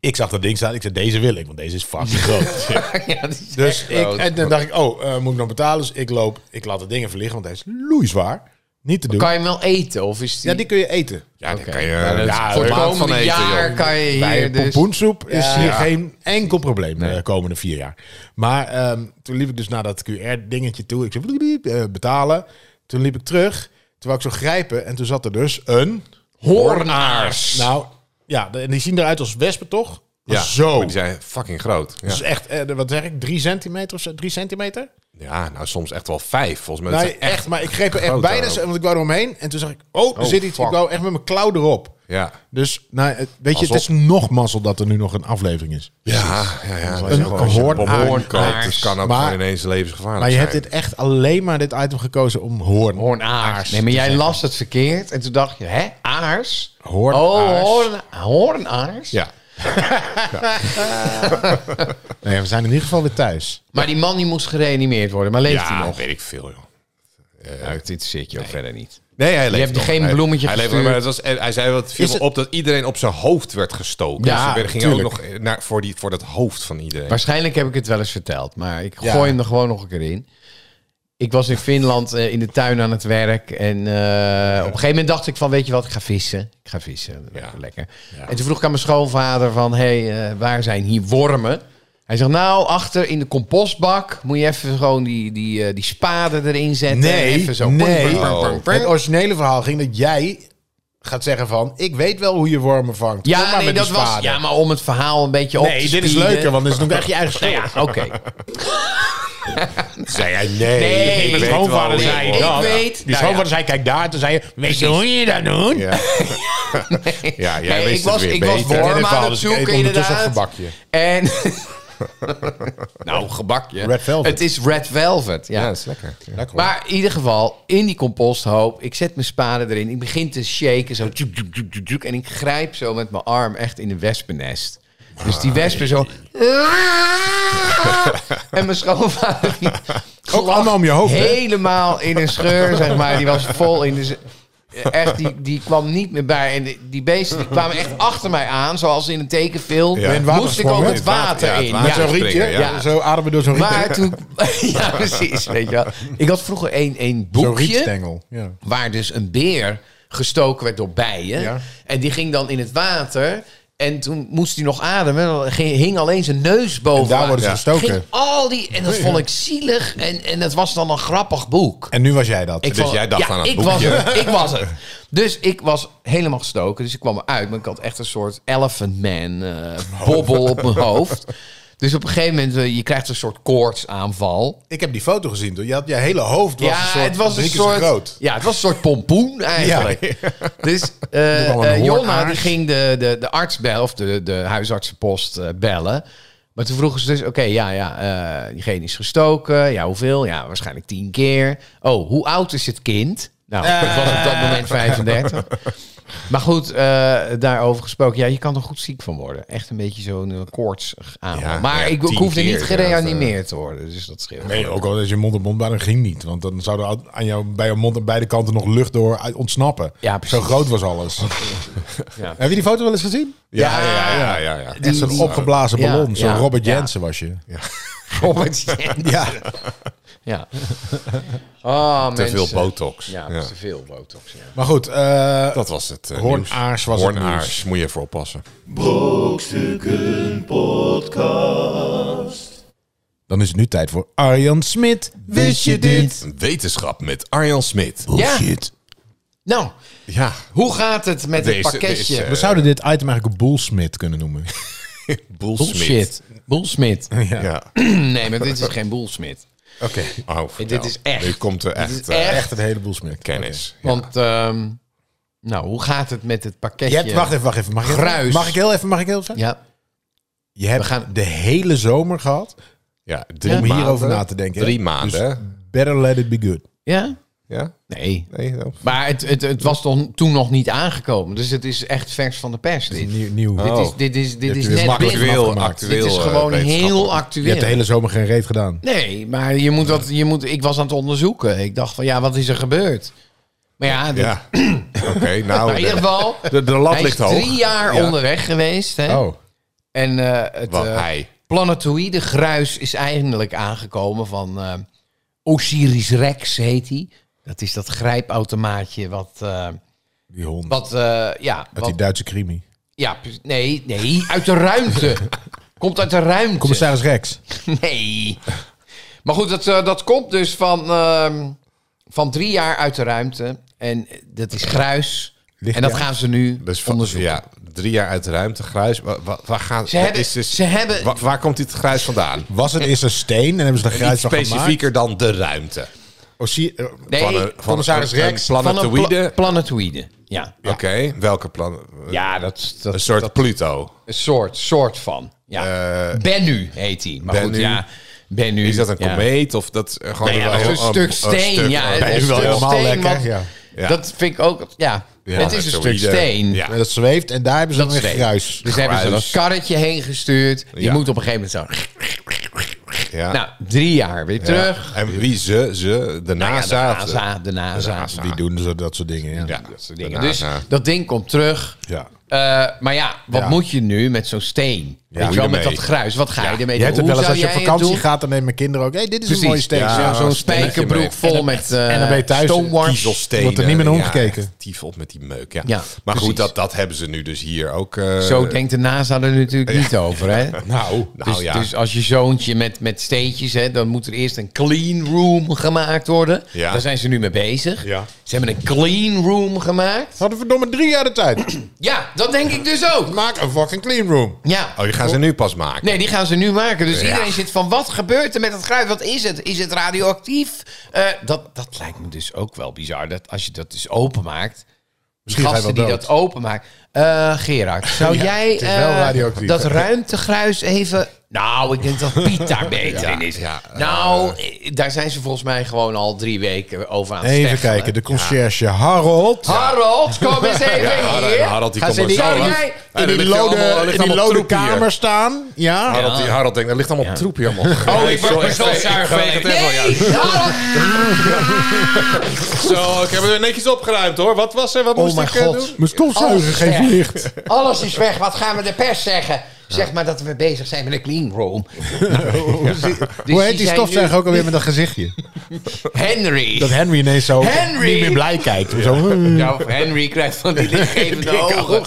ik zag dat ding staan. Ik zei, deze wil ik, want deze is fucking groot. ja, dat is dus echt ik, groot. en dan dacht ik, oh, eh, moet ik nog betalen? Dus ik loop, ik laat het ding even liggen, want hij is loeizwaar. Niet te doen. Kan je hem wel eten? Of is die... Ja, die kun je eten. Ja, dan Oké. kan je Ja, dat- ja, voor het een maand komende jaar joh. kan je Bij hier dus... pompoensoep is hier Ja. geen enkel probleem de komende vier jaar. Maar ehm, toen liep ik dus naar dat QR-dingetje toe. Ik zei, bliep, bliep, eh, betalen. Toen liep ik terug. Toen wou ik zo grijpen. En toen zat er dus een... Hoornaars. Nou, ja, de- en die zien eruit als wespen, toch? Maar Ja, zo. maar die zijn fucking groot. Ja. Dus echt, eh, wat zeg ik, drie centimeter of zo? Drie centimeter? ja, nou soms echt wel vijf. Volgens mij Nee, Dat zijn echt, maar ik greep er echt groot bijna daarom. zo, want ik wou eromheen. En toen zag ik, oh, er Oh, zit iets. fuck. Ik wou echt met mijn klauw erop. Ja. Dus, nou, het- weet je, Pas het is nog mazzel dat er nu nog een aflevering is. Ja, ja, ja. Een hoornaar. hoornaar. Het Dus kan ook Maar- gewoon ineens levensgevaarlijk Maar je zijn. hebt dit echt alleen maar dit item gekozen om hoorn. Hoornaars. Nee, maar jij las het verkeerd. En toen dacht je, hè? Aars? Hoornaars. Oh, hoorn, hoornaars? Ja. Nee, we zijn in ieder geval weer thuis. Maar die man die moest gereanimeerd worden. Maar leeft hij ja, nog? weet ik veel joh. Nou, Uit dit zit je ook verder niet. Nee, hij leeft hebt nog. geen Hij- bloemetje hij leeft nog, gestuurd. maar het was, en hij zei wel, het viel Is me het- op dat iedereen op zijn hoofd werd gestoken. Ja, dus we werden- gingen ook tuurlijk. nog naar, voor, die, voor dat hoofd van iedereen. Waarschijnlijk heb ik het wel eens verteld, maar ik Ja. gooi hem er gewoon nog een keer in. Ik was in Finland eh, in de tuin aan het werk. En eh, op een gegeven moment dacht ik van, weet je wat, ik ga vissen. Ik ga vissen, dat lijkt me lekker. En toen vroeg ik aan mijn schoonvader van, hé, hey, eh, waar zijn hier wormen? Hij zegt, nou, achter in de compostbak moet je even gewoon die, die, eh, die spade erin zetten. Nee, eh, even zo. nee. Oh. Pang, pang, pang, pang. Het originele verhaal ging dat jij gaat zeggen van... ik weet wel hoe je wormen vangt. Kom Ja, maar nee, met die dat was, spade. ja, maar om het verhaal een beetje op te nee, dit is speeden. leuker, want dit is nog echt je eigen Nou schuld. ja, oké. Zei hij nee. Nee, ik Mijn weet schoonvader wel. zei Ik dat. weet- Die Nou schoonvader ja. zei, kijk daar. Toen zei je, weet je hoe je dat doet? Ja. ja, jij Nee, wist ik was, het weer oh, dus ik was beter. En worm het aan verhaal het is, ik eet zoeken, ondertussen inderdaad. een gebakje. En... nou, gebakje. Red velvet. Het is red velvet, ja. Ja, dat is lekker. Ja. Lekker hoor. Maar in ieder geval, in die composthoop, ik zet mijn spade erin. Ik begin te shaken, zo. tjoek, tjoek, tjoek, tjoek, tjoek, en ik grijp zo met mijn arm echt in een wespennest. Dus die wespen zo... En mijn schoonvader... die Ook lag allemaal om je hoofd, hè? Helemaal in een scheur, zeg maar. Die was vol in de... z- Echt, die, die kwam niet meer bij. En die- die beesten die kwamen echt achter mij aan, zoals in een tekenfilm. Ja. In het water Moest ik gesprongen, ook hè? het water Ja, het in. water Ja. Zo'n rietje, springen, ja. ja. zo ademen door zo'n rietje. Maar toen... Ja, precies, weet je wel. Ik had vroeger één één Zo'n boekje... rietstengel. Ja. waar dus een beer gestoken werd door bijen. Ja. En die ging dan in het water... En toen moest hij nog ademen. Dan ging- hing alleen zijn neus boven. En daar worden ze Ja. gestoken. Ging al die, en dat vond ik zielig. En, en dat was dan een grappig boek. En nu was jij dat. Ik Dus jij dacht aan het ik boekje. Was het, ik was het. Dus ik was helemaal gestoken. Dus ik kwam eruit. Maar ik had echt een soort elephant man eh, bobbel op mijn hoofd. Dus op een gegeven moment, eh, je krijgt een soort koortsaanval. Ik heb die foto gezien. Toen. Je had je hele hoofd was ja, een soort, het was een drie keer zo soort, groot. ja, het was een soort pompoen eigenlijk. Dus eh, kwam een eh, Jonna hoornaars. die ging de, de, de arts bellen, of de, de huisartsenpost eh, bellen. Maar toen vroegen ze dus, oké, ja, ja, eh, diegene is gestoken. Ja, hoeveel? Ja, waarschijnlijk tien keer. Oh, hoe oud is het kind? Nou, Eh. ik was op dat moment 35. Maar goed, eh, daarover gesproken. Ja, je kan er goed ziek van worden. Echt een beetje zo'n eh, koorts aan. Ja, maar ja, ik, ik tien hoefde niet keer, ja, gereanimeerd te worden. Dus dat scheelt. Nee, ook al is je mond op mond, maar dat ging niet. Want dan zou er al- aan jou, bij je mond aan beide kanten nog lucht door uit- ontsnappen. Ja, precies. zo groot was alles. Ja. Heb je die foto wel eens gezien? Ja, ja, ja, ja, ja. Echt zo'n opgeblazen ja, ballon. Zo'n ja, Robert ja. Jensen was je. Robert Ja. Ja. Oh, Te veel botox. Ja, Ja. te veel botox. Ja. Maar goed, eh, Dat was het. eh, Hoornaars was nieuws. het Hoornaars, moet je even oppassen. Brokstukken Podcast. dan is het nu tijd voor Arjan Smit. Wist Dus je dit? Wetenschap met Arjan Smit. Ja. Nou, Ja, hoe gaat het met Deze- het pakketje? deze, We zouden dit item eigenlijk bullsmit kunnen noemen. bullshit. bullshit. Bullsmit. ja. Ja, nee, maar dit is geen bullsmit. Oké. oh, vertel. Dit is echt. Nu komt er Dit echt, is eh, echt. Echt een heleboel smit. kennis. Want, ehm, nou, hoe gaat het met het Je pakketje? hebt, wacht even, wacht even. Mag ik, Gruis. Mag ik heel even, mag ik heel even? zeggen? Ja, Je hebt We gaan- de hele zomer gehad Ja, drie om maanden. hierover na te denken. hè? Drie Dus maanden. better let it be good. ja? ja, Nee. nee, dat- Maar het, het, het was toch toen nog niet aangekomen. Dus het is echt vers van de pers. Dit, Nieuw, nieuw. dit Oh. is, dit is, dit is je dus net makkelijk binnen. weer actueel, afgemaakt. actueel. Dit is eh, gewoon wetenschap. heel Je hebt de actueel. hele zomer geen reet gedaan. Nee, maar je moet dat, je moet, ik was aan het onderzoeken. Ik dacht van ja, wat is er gebeurd? Maar ja, oh, dit- Ja, oké, nou. maar in ieder de- geval, de, de lat hij is ligt hoog. drie jaar onderweg geweest. Hè? Oh, En eh, het Wat eh, hij. planetoïde gruis is eindelijk aangekomen van eh, Osiris Rex heet hij. Dat is dat grijpautomaatje wat, eh, die hond. wat eh, ja, Uit die wat, Duitse krimi. ja, pre- nee, nee, uit de ruimte. Komt uit de ruimte. Commissaris Rex. Nee. Maar goed, dat, eh, dat komt dus van, ehm, van drie jaar uit de ruimte. En dat is gruis. Ligt en dat ja. gaan ze nu Dus van, onderzoeken. ja, drie jaar uit de ruimte, gruis. Waar, waar, waar gaan, Ze hebben- is dus- ze hebben- wa- waar komt dit gruis vandaan? Was het eerst een steen en hebben ze er Iets grijs van gemaakt? specifieker dan de ruimte. Oh, Specifieker. eh, Nee, van een, van commissaris een- een Rex, Van een pla- planetoïde. planetoïde. Ja. Oké, welke plan? Ja, dat, dat een soort Pluto. een soort, soort van. Ja. Bennu heet hij. Maar goed, Eh, Bennu. ja. Bennu. Is dat een ja. komeet of dat eh, gewoon Nee, ja, wel dat is heel- een stuk steen. stuk- ja, Ben een je stuk wel helemaal steen, lekker, want ja. Ja. Dat vind ik ook. Ja, het is een stuk planetoïde. steen. Ja. Dat zweeft en daar hebben ze Dat dan weer zweeft. gruis. Dus hebben ze dat Gruis. karretje heen gestuurd. Je Ja. moet op een gegeven moment zo. Ja. Nou, drie jaar weer Ja. terug. Nou En wie ze? Ze? De Ja, NASA? de NASA, de NASA. Die doen ze dat soort dingen, ja. Ja, Dat soort de dingen. NASA. Dus dat ding komt terug. Ja. Eh, maar ja, wat Ja. moet je nu met zo'n steen? Weet je wel, met ermee. dat gruis. Wat ga je Je ermee doen? hebt het Hoe wel eens zou als je op jij het vakantie doen? gaat, dan nemen kinderen ook. hey, dit is Precies. een mooie steen. Ja, Zo, Zo'n zo. zo'n stelletje spijkerbroek mee. vol met eh en dan ben je thuis stoomworms. Kiezelstenen. Wordt er niet meer naar Ja, omgekeken. Tief op met die meuk, ja. Ja, maar goed, precies. dat, dat hebben ze nu dus hier ook. eh, Zo denkt de NASA er natuurlijk niet over, hè? Nou, Dus, nou ja. dus als je zoontje met, met steentjes, hè, dan moet er eerst een clean room gemaakt worden. Ja. Daar zijn ze nu mee bezig. Ja. Ze hebben een clean room gemaakt. Hadden we verdomme drie jaar de tijd. Ja, dat denk ik dus ook. Maak een fucking clean room. Ja. Oh, die gaan ze nu pas maken. Nee, die gaan ze nu maken. Dus Ja. iedereen zit van, wat gebeurt er met het gruis? Wat is het? Is het radioactief? Eh, dat, dat lijkt me dus ook wel bizar. Dat als je dat dus openmaakt... Die Misschien ga je gasten die wel dood. dat openmaakt. Eh Gerard, zou jij het is wel eh, radioactief. dat ruimtegruis even... Nou, ik denk dat Piet daar beter in is. ja, nou, eh, daar zijn ze volgens mij gewoon al drie weken over aan het Even steggelen. kijken, de conciërge Harold. Harald, kom eens even Harald- hier. Harald, die Gaan komt er ze zo niet- Oh, langs. Jij- Ja, In er die ligt allemaal- er lode, in ligt die allemaal lode troep hier. kamer staan. Ja. Harald, die, Harald denkt, er ligt allemaal troep hier, man. Oh, ik word veeg- ik veeg het even, ja. Nee, Harald, Zo, ik heb het weer netjes opgeruimd, hoor. Wat was er? Wat moest mijn ik eh, God. doen? Oh Mijn stofzuiger Alles weg. geeft licht. Alles is weg. Wat gaan we de pers zeggen? Zeg maar dat we bezig zijn met een clean room. Dus Hoe Nou, Hoe heet die stofzuiger ook alweer met dat gezichtje? Henry. Dat Henry ineens zo Henry! niet meer blij kijkt. Zo, Ja, of Henry krijgt van die lichtgevende ogen.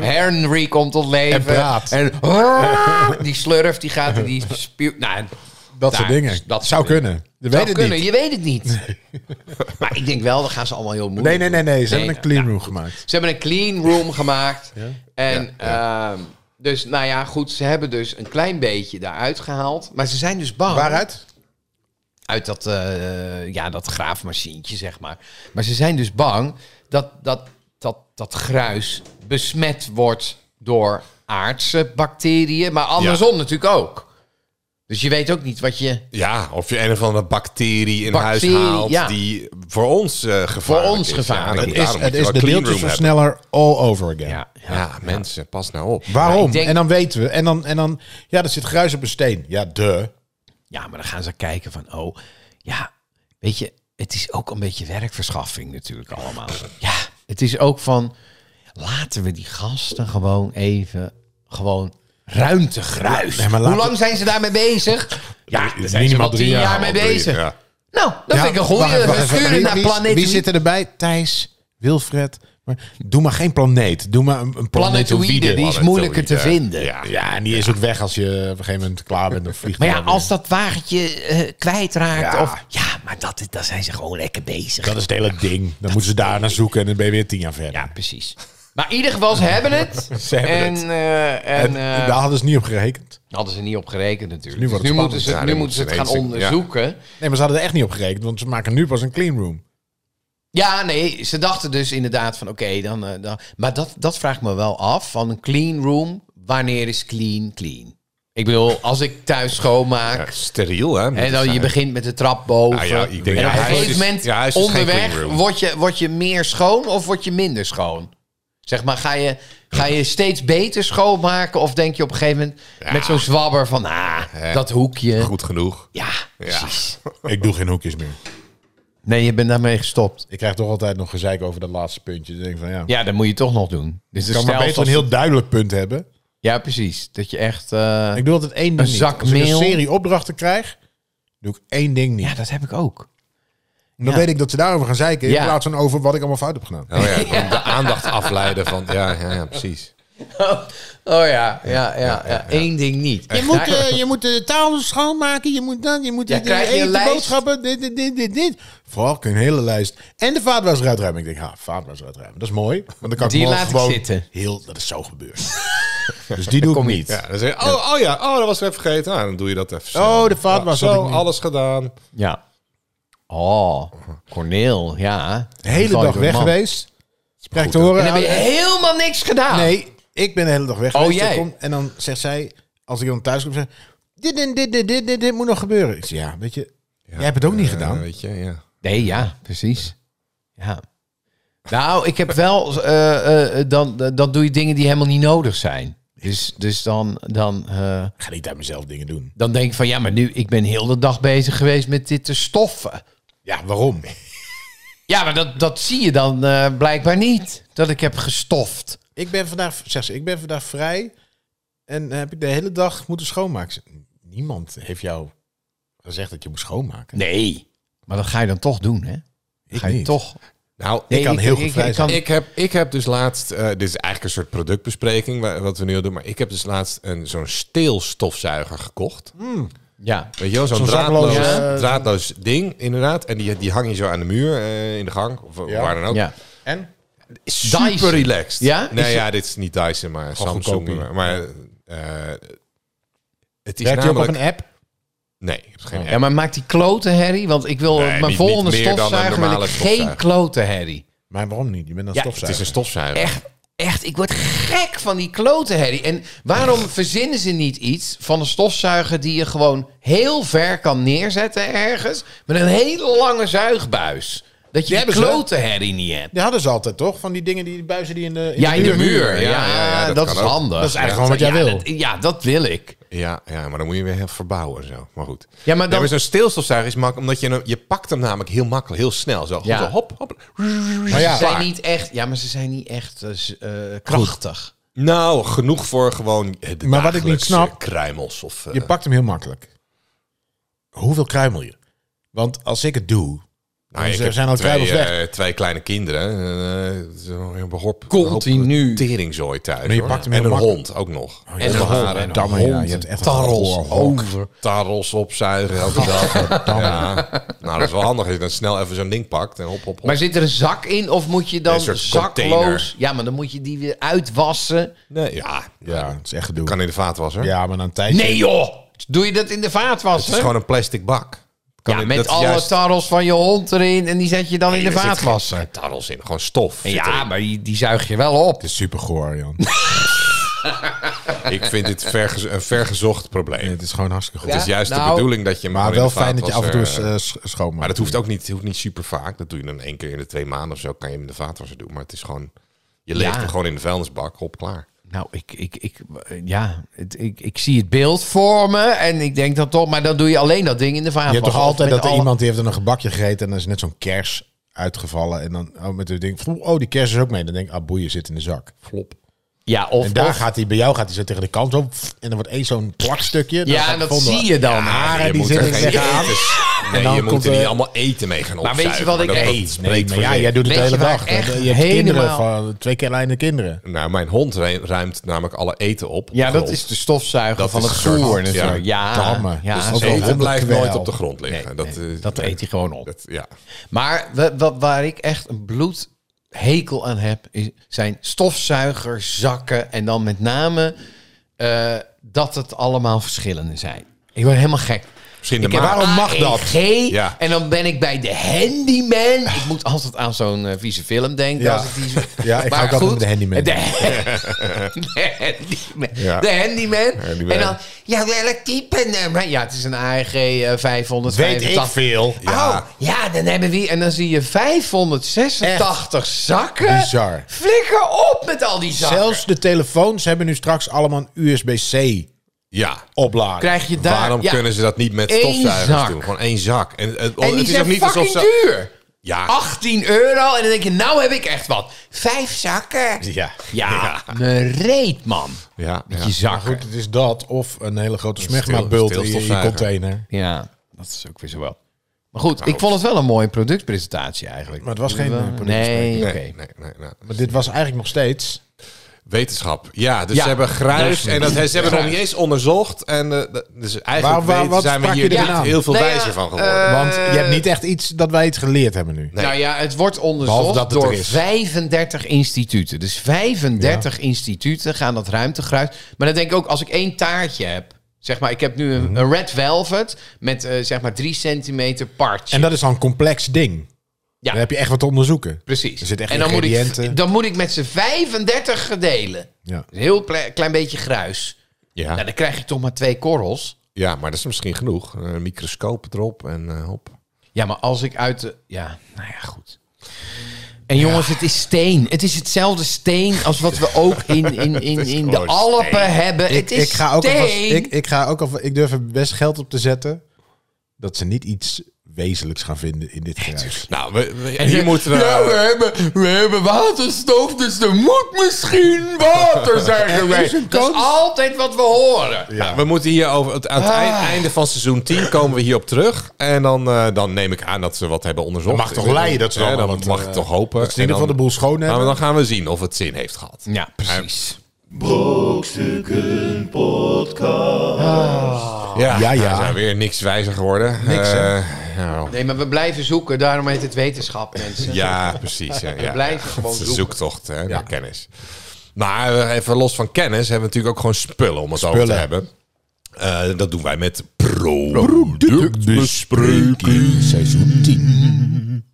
Henry komt tot leven. En praat. En Ah! die slurf, die gaat in die spuw... Nou, dat daar, soort dingen. Dat Dat zou kunnen. Je weet zou het kunnen, niet. je weet het niet. Maar ik denk wel, dan gaan ze allemaal heel moeilijk Nee, nee, nee, nee. Ze doen. hebben een clean room gemaakt. Ze hebben een clean room gemaakt. En ehm, dus, nou ja, goed, ze hebben dus een klein beetje daaruit gehaald. Maar ze zijn dus bang. Waaruit? Uit dat, eh, ja, dat graafmachientje, zeg maar. Maar ze zijn dus bang dat dat, dat, dat gruis besmet wordt door aardse bacteriën. Maar andersom natuurlijk ook. Dus je weet ook niet wat je... Ja, of je een of andere bacterie in Bacterie, huis haalt ja. die voor ons eh gevaarlijk ons is. gevaarlijk Ja, is. Is, daarom het moet je is wel de clean deeltjes room sneller all over again. hebben. Ja, mensen, pas nou op. Waarom? ik denk- En dan weten we. En dan, en dan, ja, er zit gruis op een steen. Ja, de. Ja, maar dan gaan ze kijken van, oh, ja, weet je, het is ook een beetje werkverschaffing natuurlijk allemaal. Ja, het is ook van, laten we die gasten gewoon even, gewoon ruimte gruis. Nee, maar Hoe laten- lang zijn ze daarmee bezig? Ja, daar zijn ze minimaal al tien drie jaar, jaar, mee al drie, bezig. ja. Nou, dat vind ik een goede. wacht even, wacht We even. sturen Wie- naar wie- planeet. Wie zit erbij? Thijs, Wilfred. Maar doe maar geen planeet. Doe maar een, een Planetoïde, planetoïde. die is planetoïde. moeilijker te vinden. Ja. Ja, en die is ook weg als je op een gegeven moment klaar bent. Dan vliegt Maar die ja, wel weer. als dat wagentje eh, kwijtraakt Ja. of... Ja, maar dat, is- daar zijn ze gewoon lekker bezig. Dat is het hele ding. Dan moeten ze daar naar zoeken en dan ben je weer tien jaar verder. Ja, precies. Maar in ieder geval, ze hebben het. Ze hebben en, het. eh, en En, eh, daar hadden ze niet op gerekend. hadden ze niet op gerekend natuurlijk. Nu Dus Nu, wordt het moeten spannend. ze, Ja, nu dan moeten ze het gaan moeten ze ineens- ja. onderzoeken. Nee, maar ze hadden er echt niet op gerekend, want ze maken nu pas een clean room. Ja, nee, ze dachten dus inderdaad van oké, dan, eh, dan... Maar dat, dat vraagt me wel af, van een clean room, wanneer is clean clean? Ik bedoel, als ik thuis Ja, schoonmaak... steriel, hè? En dan nou, je begint met de trap boven. Nou ja, ik denk- en ja, op een huis is- gegeven moment ja, huis is dus geen clean onderweg room. word je, word je meer schoon of word je minder schoon? Zeg maar, ga je, ga je steeds beter schoonmaken of denk je op een gegeven moment met zo'n zwabber van, ah, dat hoekje. Goed genoeg. Ja, precies. Ik doe geen hoekjes meer. Nee, je bent daarmee gestopt. Ik krijg toch altijd nog gezeik over dat laatste puntje. Dus ik denk van ja, Ja, dat moet je toch nog doen. Dus ik kan maar beter een heel duidelijk punt hebben. Ja, precies. Dat je echt... eh, Ik doe altijd één ding Een niet. zak Als ik een meel. serie opdrachten krijg, doe ik één ding niet. ja, dat heb ik ook. Dan ja. weet ik dat ze daarover gaan zeiken in Ja. plaats van over wat ik allemaal fout heb gedaan. Oh ja, dan de aandacht afleiden van... Ja, ja, ja precies. Oh, oh ja, ja, ja, ja, Eén ding niet. Je moet, eh, je moet de tafel schoonmaken, je moet dan, je moet Ja, dit, krijg je eten, een lijst? boodschappen, dit, dit, dit, dit, dit. Vooral een hele lijst. En de vaatwas eruit ruimen. Ik denk, ha, vaatwas eruit ruimen. Dat is mooi, want dan kan Die ik morgen laat ik gewoon zitten. heel, dat is zo gebeurd. dus die doe ik kom niet. Ja, dan zeg je, oh, oh ja, oh, dat was ik even vergeten. Nou, dan doe je dat even snel. Oh, de vaat was dat Zo, ik niet. alles gedaan. Ja. Oh, Corneel, ja. De hele dag weg geweest. Krijg ik te En horen. ah, dan heb je helemaal niks gedaan. Nee, ik ben de hele dag weg Oh, geweest. jij? Ik kom- en dan zegt zij, als ik dan thuis kom, zeg, dit en dit, dit, dit, dit, dit moet nog gebeuren. Ik zeg, ja, weet je, jij hebt het ook niet gedaan. Eh, weet je, ja. Nee, ja, precies. Ja. Nou, ik heb wel... eh, eh, dan, dan doe je dingen die helemaal niet nodig zijn. Dus, dus dan... dan eh, Ik ga niet uit mezelf dingen doen. dan denk ik van ja, maar nu, ik ben heel de dag bezig geweest met dit te stoffen. Ja, waarom? Ja, maar dat, dat zie je dan eh, blijkbaar niet. Dat ik heb gestoft. Ik ben vandaag, zeg ze, ik ben vandaag vrij. En eh, heb ik de hele dag moeten schoonmaken. Ik zei, Niemand heeft jou gezegd dat je moet schoonmaken. Nee. Maar dat ga je dan toch doen, hè? Ik ga je niet. toch... Nou, Nee, ik, kan heel goed vrij kan- ik, heb, ik heb dus laatst... eh, dit is eigenlijk een soort productbespreking wa- wat we nu al doen. Maar ik heb dus laatst een, zo'n steelstofzuiger gekocht. Ja. Weet je wel, zo'n Hm? Zo'n draadloos, zakloos, eh, draadloos ding inderdaad. En die, die hang je zo aan de muur eh, in de gang. Of Ja. waar dan ook. ja. En? Super Dyson. relaxed. Ja? Nee, Is het- ja, dit is niet Dyson, maar Gewoon Samsung. goedkoop. Maar, maar, eh, het is Werkt je ook op namelijk... een app? Oh, Nee, ik heb geen app. ja, maar maakt die kloten herrie? Want ik wil Nee, mijn niet- niet volgende meer dan een stofzuiger wil normale ik geen stofzuiger. kloten herrie. Maar waarom niet? Je bent een Ja, Het is stofzuiger. een stofzuiger. Echt, echt, ik word gek van die kloten herrie. En waarom verzinnen ze niet iets van een stofzuiger die je gewoon heel ver kan neerzetten ergens met een hele lange zuigbuis? Dat je die, hebben ze. kloten herrie niet hebt. Die hadden ze altijd, toch? Van die dingen, die buizen die in de... Ja, in de muur. muur. Ja, Ja, ja, ja, dat, dat is kan ook. handig. Dat is eigenlijk gewoon Ja, wat jij dat- ja, dat wil ik. Ja, ja, maar dan moet je weer heel verbouwen en zo. Maar goed. Ja, maar Nee, dan, maar zo'n steelstofzuiger is makkelijk, omdat je hem, je pakt hem namelijk heel makkelijk, heel snel. Zo, Ja. Gewoon zo hop, hop. Maar ja, ze zijn klaar. niet echt, ja, maar ze zijn niet echt eh, z- eh, krachtig. Nou, genoeg voor gewoon eh, de Maar wat ik dagelijkse niet snap, kruimels of... eh, je pakt hem heel makkelijk. Hoeveel kruimel je? Want als ik het doe... nou, dan zijn ik heb al twee, kruimels weg. eh, twee kleine kinderen. eh, Zo'n een hoop, Continu. hoop teringzooi thuis. Maar je hoor. pakt hem en heel een makkelijk. Oh, hond ook nog. En een hond, en een Damme, ja, je hebt echt een Tarrels Oh. gehoorhok. over. Tarrels opzuigen elke dag. Ja. Nou, dat is wel handig als je dan snel even zo'n ding pakt. En hop, hop, hop. Maar zit er een zak in of moet je dan Een soort zakloos? container. Ja, maar dan moet je die weer uitwassen. Nee, ja, Ja, ja. dat is echt gedoe. Kan in de vaatwasser. Ja, maar na een tijdje... Nee joh! Doe je dat in de Het vaatwasser? is gewoon een plastic bak. Kan ja, in- met dat is alle juist- tarrels van je hond erin en die zet je dan in de Nee, er zit vaatwasser. geen Tarrels in, gewoon stof. zit Ja, erin. maar die, die zuig je wel op. Dus, Het is super goor, Jan. Ik vind dit verge- een vergezocht probleem. het is gewoon hartstikke goed. Ja, Het is juist nou, de bedoeling dat je hem Maar gewoon in wel de fijn dat je af en toe eens vaatwasser- eh, sch- schoonmaakt. Maar dat hoeft ook niet, hoeft niet super vaak. Dat doe je dan één keer in de twee maanden of zo. Kan je hem in de vaatwasser doen. Maar het is gewoon... Je leegt Ja. hem gewoon in de vuilnisbak. Hop, klaar. Nou, ik, ik, ik, ja, het, ik, ik zie het beeld voor me en ik denk dan toch, maar dan doe je alleen dat ding in de Je vaatwasser. hebt toch Of altijd met dat er alle- iemand die heeft dan een gebakje gegeten en dan is net zo'n kers uitgevallen. En dan oh, met het ding, oh die kers is ook mee. Dan denk ik, ah boeien zit in de zak. Flop. Ja, of, En daar of- gaat hij, bij jou gaat hij zo tegen de kant op. pff, En dan wordt één zo'n plakstukje. Dan ja, gaat en dat Vonden- zie je dan. haren je die moet zitten er er geen tegenaan. eten- Nee, En dan je moet komt er er- niet allemaal eten mee gaan Maar weet je opzuigen. wat ik- dat- Nee, dat spreekt Nee, maar voor ja, zich. jij doet het de Weet je hele waar dag. Je hebt echt kinderen helemaal- van twee kleine kinderen. Nou, mijn hond re- ruimt namelijk alle eten op. Ja, Grond. dat is dus de stofzuiger Dat van is het een soort- voer. en ja, zo. Ja, damme. ja, Dus zo. dat is Eten blijft hondenkwel. nooit op de grond liggen. Nee, dat, nee, eh, dat nee, eet hij gewoon op. dat- ja. Maar wa- wa- waar ik echt een bloedhekel aan heb, is- zijn stofzuigerzakken. En dan met name eh, dat het allemaal verschillende zijn. Ik word helemaal gek. Misschien de Ik heb maag. waarom mag dat? Ja. En dan ben ik bij de handyman. Ik moet altijd aan zo'n eh, vieze film denken. Ja. Als ik die zo- Ja, ik Maar ga ook altijd goed, met de handyman. De, de handyman. Ja. De handyman. Handyman. En dan, ja, eh, welk type nummer? Ja, het is een AEG eh, 585. veel. Ja. Ja. Oh, ja, dan hebben we hier- En dan zie je 586 zakken. Bizar. Flikker op met al die zakken. Zelfs de telefoons hebben nu straks allemaal een USB-C ja. oplader. krijg je daar... Waarom ja, kunnen ze dat niet met Eén stofzuigers zak. doen? Gewoon één zak. En, het- En die het is zijn ook niet alsof fucking ze... duur. Ja, 18 euro. En dan denk je, nou heb ik echt wat. Vijf zakken. Ja. Ja, mijn reet, man. ja, ja. Die Maar zakken. goed, het is dat of een hele grote stil- smegma-bult in je- in je stilstofzuiger. container. Ja, dat is ook weer zo wel. Maar goed, ik vond het wel een mooie productpresentatie eigenlijk. Maar het was geen, eh, productpresentatie. Nee, Nee, oké. nee, nee, nee. Maar dit was eigenlijk nog steeds... Wetenschap. Ja, dus Ja. ze hebben gruis Duizend. en dat, ze hebben Gruis. nog niet eens onderzocht. En eh, dat- dus eigenlijk Waar- waar- weten- wat zijn we sprak hier je niet erin aan? heel veel Nou ja, wijzer van geworden. Want je hebt niet echt iets dat wij iets geleerd hebben nu. Eh, Nee. Nou ja, het wordt Behalve onderzocht dat het door er is. 35 instituten. Dus 35 instituten gaan dat ruimtegruis. Maar dan denk ik ook, als ik één taartje heb... Zeg maar, ik heb nu Mhm. een, een red velvet met eh, zeg maar 3 centimeter partje. En dat is dan een complex ding. Ja. Dan heb je echt wat te onderzoeken. Precies. Er zitten echt en dan moet, ik, ingrediënten. dan moet ik met z'n 35 gedelen. Ja. Een heel ple- klein beetje gruis. Nou, Ja. dan krijg je toch maar twee korrels. ja, maar dat is misschien genoeg. Een microscoop erop en eh, hop. Ja, maar als ik uit de... Ja, nou ja, goed. En jongens, het is steen. Het is hetzelfde steen als wat we ook in, in, in, in de gewoon Alpen steen. hebben. het is ik, ga ook steen. alvast, ik, ik ga ook alvast, ik durf er best geld op te zetten dat ze niet iets wezenlijks gaan vinden in dit geruis. Nou, we, we- hier moeten we... Ja, we hebben, we hebben waterstof, dus er moet misschien water zijn geweest. Dat is altijd wat we horen. Nou, we moeten hier over het, aan het eind- Ah. einde van seizoen 10 komen we hierop terug. En dan, eh, dan neem ik aan dat ze wat hebben onderzocht. Dat mag toch leiden dat ze Ja, allemaal dan wat, mag eh, ik toch hopen. dat ze in ieder En geval de boel schoon dan, Nou, hebben. Maar dan gaan we zien of het zin heeft gehad. Ja, precies. Brokstukken podcast. Oh. Ja, Ja, ja. We zijn Nou, weer niks wijzer geworden. Niks, hè? Eh, nou, Nee, maar we blijven zoeken. Daarom heet het wetenschap, mensen. ja, precies. hè, ja. blijven gewoon Het is een zoeken. zoektocht hè, naar kennis. Maar eh, even los van kennis hebben we natuurlijk ook gewoon spullen om het over te Spullen. hebben. Eh, dat doen wij met productbespreking. Seizoen 10.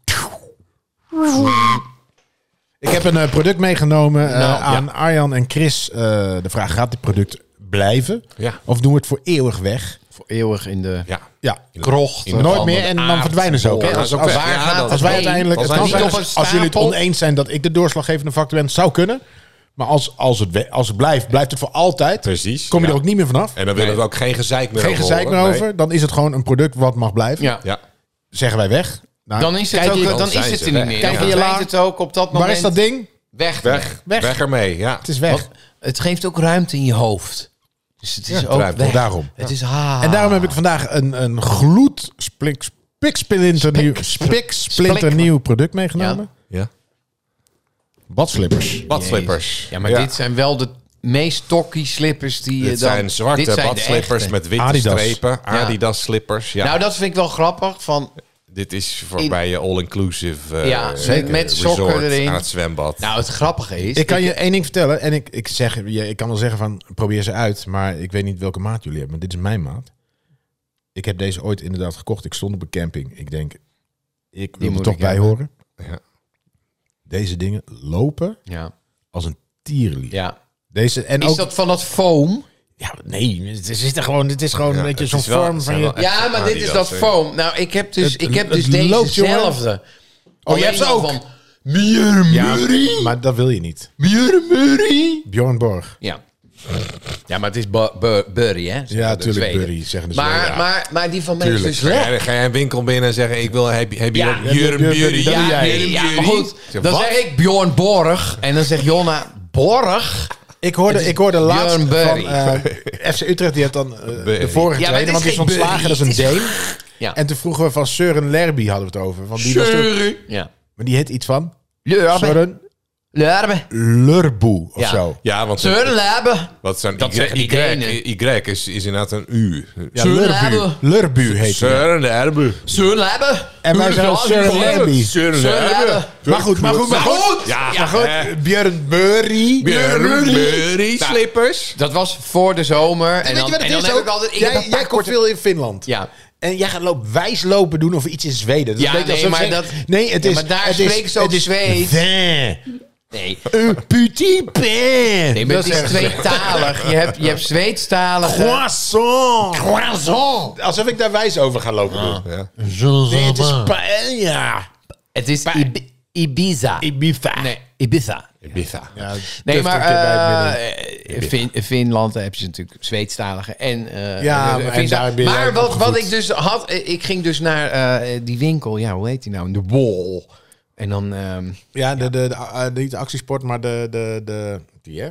Ik heb een eh, product meegenomen eh, Nou, aan Arjan en Chris. eh, de vraag, gaat dit product blijven? Ja. Of doen we het voor eeuwig weg? Voor eeuwig in de... Ja. Ja, In de- krocht. in de Nooit handen, meer en dan aard, verdwijnen ze ook. hè? boren, dat Als, is ook als- weg. waar Ja, gaat dat- het als wij heen? uiteindelijk... Als het kan wij zijn niet op als, een als jullie het stapel- oneens zijn dat ik de doorslaggevende factor ben, het zou kunnen. Maar als, als, het, we- als het blijft, blijft het voor altijd. Precies, Kom je ja. er ook niet meer vanaf. En dan willen we ook geen gezeik meer Geen over gezeik meer horen. over. Dan is het gewoon een product wat mag blijven. Ja. Nee. Ja. Zeggen wij weg. Nou, Dan is het, kijk ook, hier- dan dan is zijn het ze er niet weg. meer. Kijk Dan in je verdwijnt la. het ook op dat moment. Waar is dat ding? Weg. Weg, weg. ermee, ja. Het is weg. Want het geeft ook ruimte in je hoofd. Dus het is ook ruimte, weg. daarom. Het is Ah. ha. En daarom heb ik vandaag een, een gloed splik, spiksplinter nieuw, spiksplinter nieuw product meegenomen. ja. Badslippers. Badslippers. Ja, maar dit zijn wel de meest tokkie slippers die je Dit dan... zijn zwarte dit zijn de badslippers echte. met witte Adidas. strepen. Adidas slippers. Ja, Nou, dat vind ik wel grappig. Van, dit is voorbij je all-inclusive eh, Ja, eh, zeker. Met resort sokken erin. aan het zwembad. nou, het grappige is... Ik kan je één ding vertellen. En ik, ik, zeg, je- ik kan wel zeggen van probeer ze uit. Maar ik weet niet welke maat jullie hebben. Maar dit is mijn maat. Ik heb deze ooit inderdaad gekocht. Ik stond op een camping. Ik denk, ik wil moet er toch ik bij hebben. horen. Ja. Deze dingen lopen Ja, als een tierlier. ja. Deze, en Is ook, dat van dat foam? Ja, nee, het is, er gewoon, het is gewoon een beetje het zo'n is wel- vorm het van zijn je... wel echt Ja, maar dit is dat Adidas, hè. foam. Nou, ik heb dus, Het- ik heb het dus loopt, jongen. dezezelfde. Oh, je hebt ze ook? Van, Bier Ja, Murray. maar dat wil je niet. Bier Murray. Bjorn Borg. Ja. Ja, maar het is bu- bu- Burry, hè? zeggen Ja, de tuurlijk, Zweden. Burry, zeggen de maar, Zweden, ja. maar, maar die van mij is dus Ga weg. jij- ga jij een winkel binnen en zeggen, ik wil heb, heb je Ja. ook Jurm Jurm Jury? Jury, Ja, doe jij. nee, ja, maar goed. Zeg, Dan wat? zeg ik Bjorn Borg. En dan zegt Jonna, Borg? Ik hoorde, ik hoorde laatst Bjorn van Burry. eh, FC Utrecht, die had dan eh, Burry. de vorige Ja, maar trainer, want dit die is is geen ontslagen, dat is Burry, een Deen. Ja. En toen vroegen we van Søren Lerby, hadden we het over. Want die was toen- ja. maar die heet iets van Lurbe. Søren Lurbe. Lurboe of Ja. zo. Ja, want Søren Lurbe. wat zijn Dat dat zeggen y, die Denen. y, y is, is inderdaad een U. Ja, Søren Lurbu. Lerby. Lurbu heet hij. Søren Lerbe. Søren Lurbe. En wij zijn Søren Lerby. Søren Søren Lerby. Lerbe. Maar goed, maar goed, maar goed. Ja, Ja, goed. Eh, Björn Burry. Jurm Jury slippers. Dat was voor de zomer. En Weet je dan, wat en het dan is heb ook? ik altijd... ik heb jij een paar jij komt veel in Finland. Ja. En jij gaat loop, wijs lopen doen of iets in Zweden. Dat Ja, weet je nee, als maar ze dat- zeggen- Nee, het Ja, is... maar daar het spreken is, ze ook het is Zweeds. Vin. Nee. Een petit pain. Nee, maar het eh, is echt- tweetalig. Je hebt, je hebt Zweedstalig. Croissant. Alsof ik daar wijs over ga lopen doen. Ja. Nee, het is eh, paella. Het is Ibi- Ibiza. Ibiza. Nee, Ibiza. Ibiza. Ja, Nee, durft maar er een keer bij het midden. eh, Fin- Finland heb je natuurlijk Zweedstaligen en eh, Ja, eh, maar Finsta- daar ben je Maar wat, opgevoed. wat ik dus had, eh, ik ging dus naar eh, die winkel. Ja, hoe heet die nou? De Wall. En dan ehm, ja, de, de, de, eh, niet de actiesport, maar de... de, de eh, die, hè?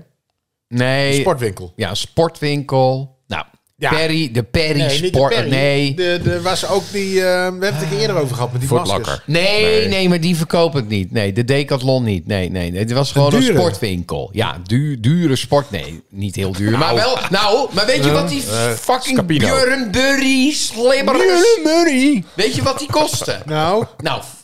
nee, Sportwinkel. ja, sportwinkel. Nou, Ja. Perry, de Perry Nee, niet de Sport. Perry. nee. De, de, was ook die... eh, we hebben het er eerder over gehad met die maskers. Footlocker. Nee, nee, Nee. maar die verkoopt het niet. Nee, de Decathlon niet. Nee, nee, nee. Het was gewoon een dure. sportwinkel. Ja, duur, dure sport. Nee, niet heel duur. Maar wel, nou, maar weet je wat die Eh, fucking Scapino. Björn Burry slippers... Weet je wat die kosten? Nou... Nou, f-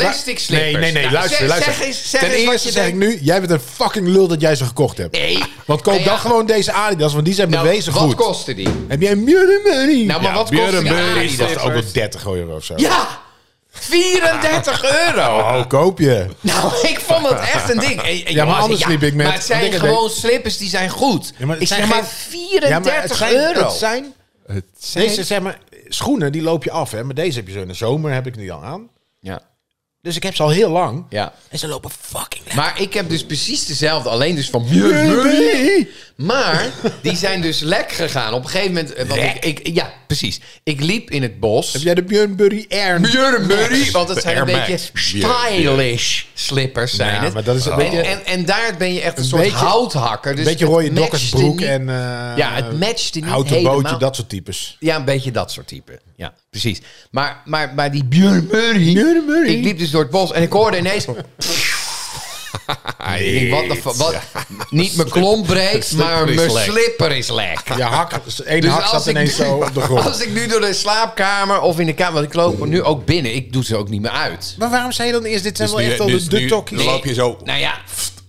plastic slippers. Nee, nee, nee, Nou, luister, zeg, luister. Zeg eens, zeg Ten eens wat eerste je zeg ik denkt. nu, jij bent een fucking lul dat jij ze gekocht hebt. Nee. Want koop Nee, ja. dan gewoon deze Adidas, want die zijn Nou, bewezen wat goed. kostte die? Heb jij een Mjörn Murray? Nou, maar wat Björn kostte die Burry Adidas? dat is ook wel 30 euro of zo. Ja, 34 euro. Oh, koop je. Nou, ik vond het echt een ding. En- en Ja, maar jongens, anders liep ik met- Maar het zijn dingen gewoon slippers die zijn goed. Ja, maar ik het zeg zijn maar geen- 34 ja, maar het zijn, euro. Het zijn, deze zeg maar, schoenen die loop je af, hè. Maar deze heb je zo in de zomer, heb ik die al aan. ja. Dus ik heb ze al heel lang. Ja. En ze lopen fucking lekker. Maar ik heb dus precies dezelfde, alleen dus van Murray. Maar die zijn dus lek gegaan. Op een gegeven moment. eh, Want ik, ik, ja, precies. Ik liep in het bos. Heb jij de Björn Burry Air? Murray, want het zijn een Air Max. beetje stylish slippers zijn Ja, het. maar dat is een en, beetje- en, en daar ben je echt een, soort beetje- houthakker. Dus Een beetje het rode matchte dokkersbroek niet- en eh, ja, het matchte niet houten helemaal. bootje, dat soort types. Ja, een beetje dat soort type. Ja, precies. Maar, maar, maar die Björn Murray, Ik liep dus door het bos en ik hoorde ineens... Ik denk, wat de fu- wat, niet mijn klomp breekt, maar is mijn lek. slipper is lek. Je hak, één Dus hak als zat ik ineens nu- zo op de grond. Als ik nu door de slaapkamer of in de kamer... Want ik loop nu ook binnen. Ik doe ze ook niet meer uit. Maar waarom zei je dan eerst, dit zijn Dus wel nu- echt al dus de, de nu- tokkies? Dan loop je zo. Nou ja,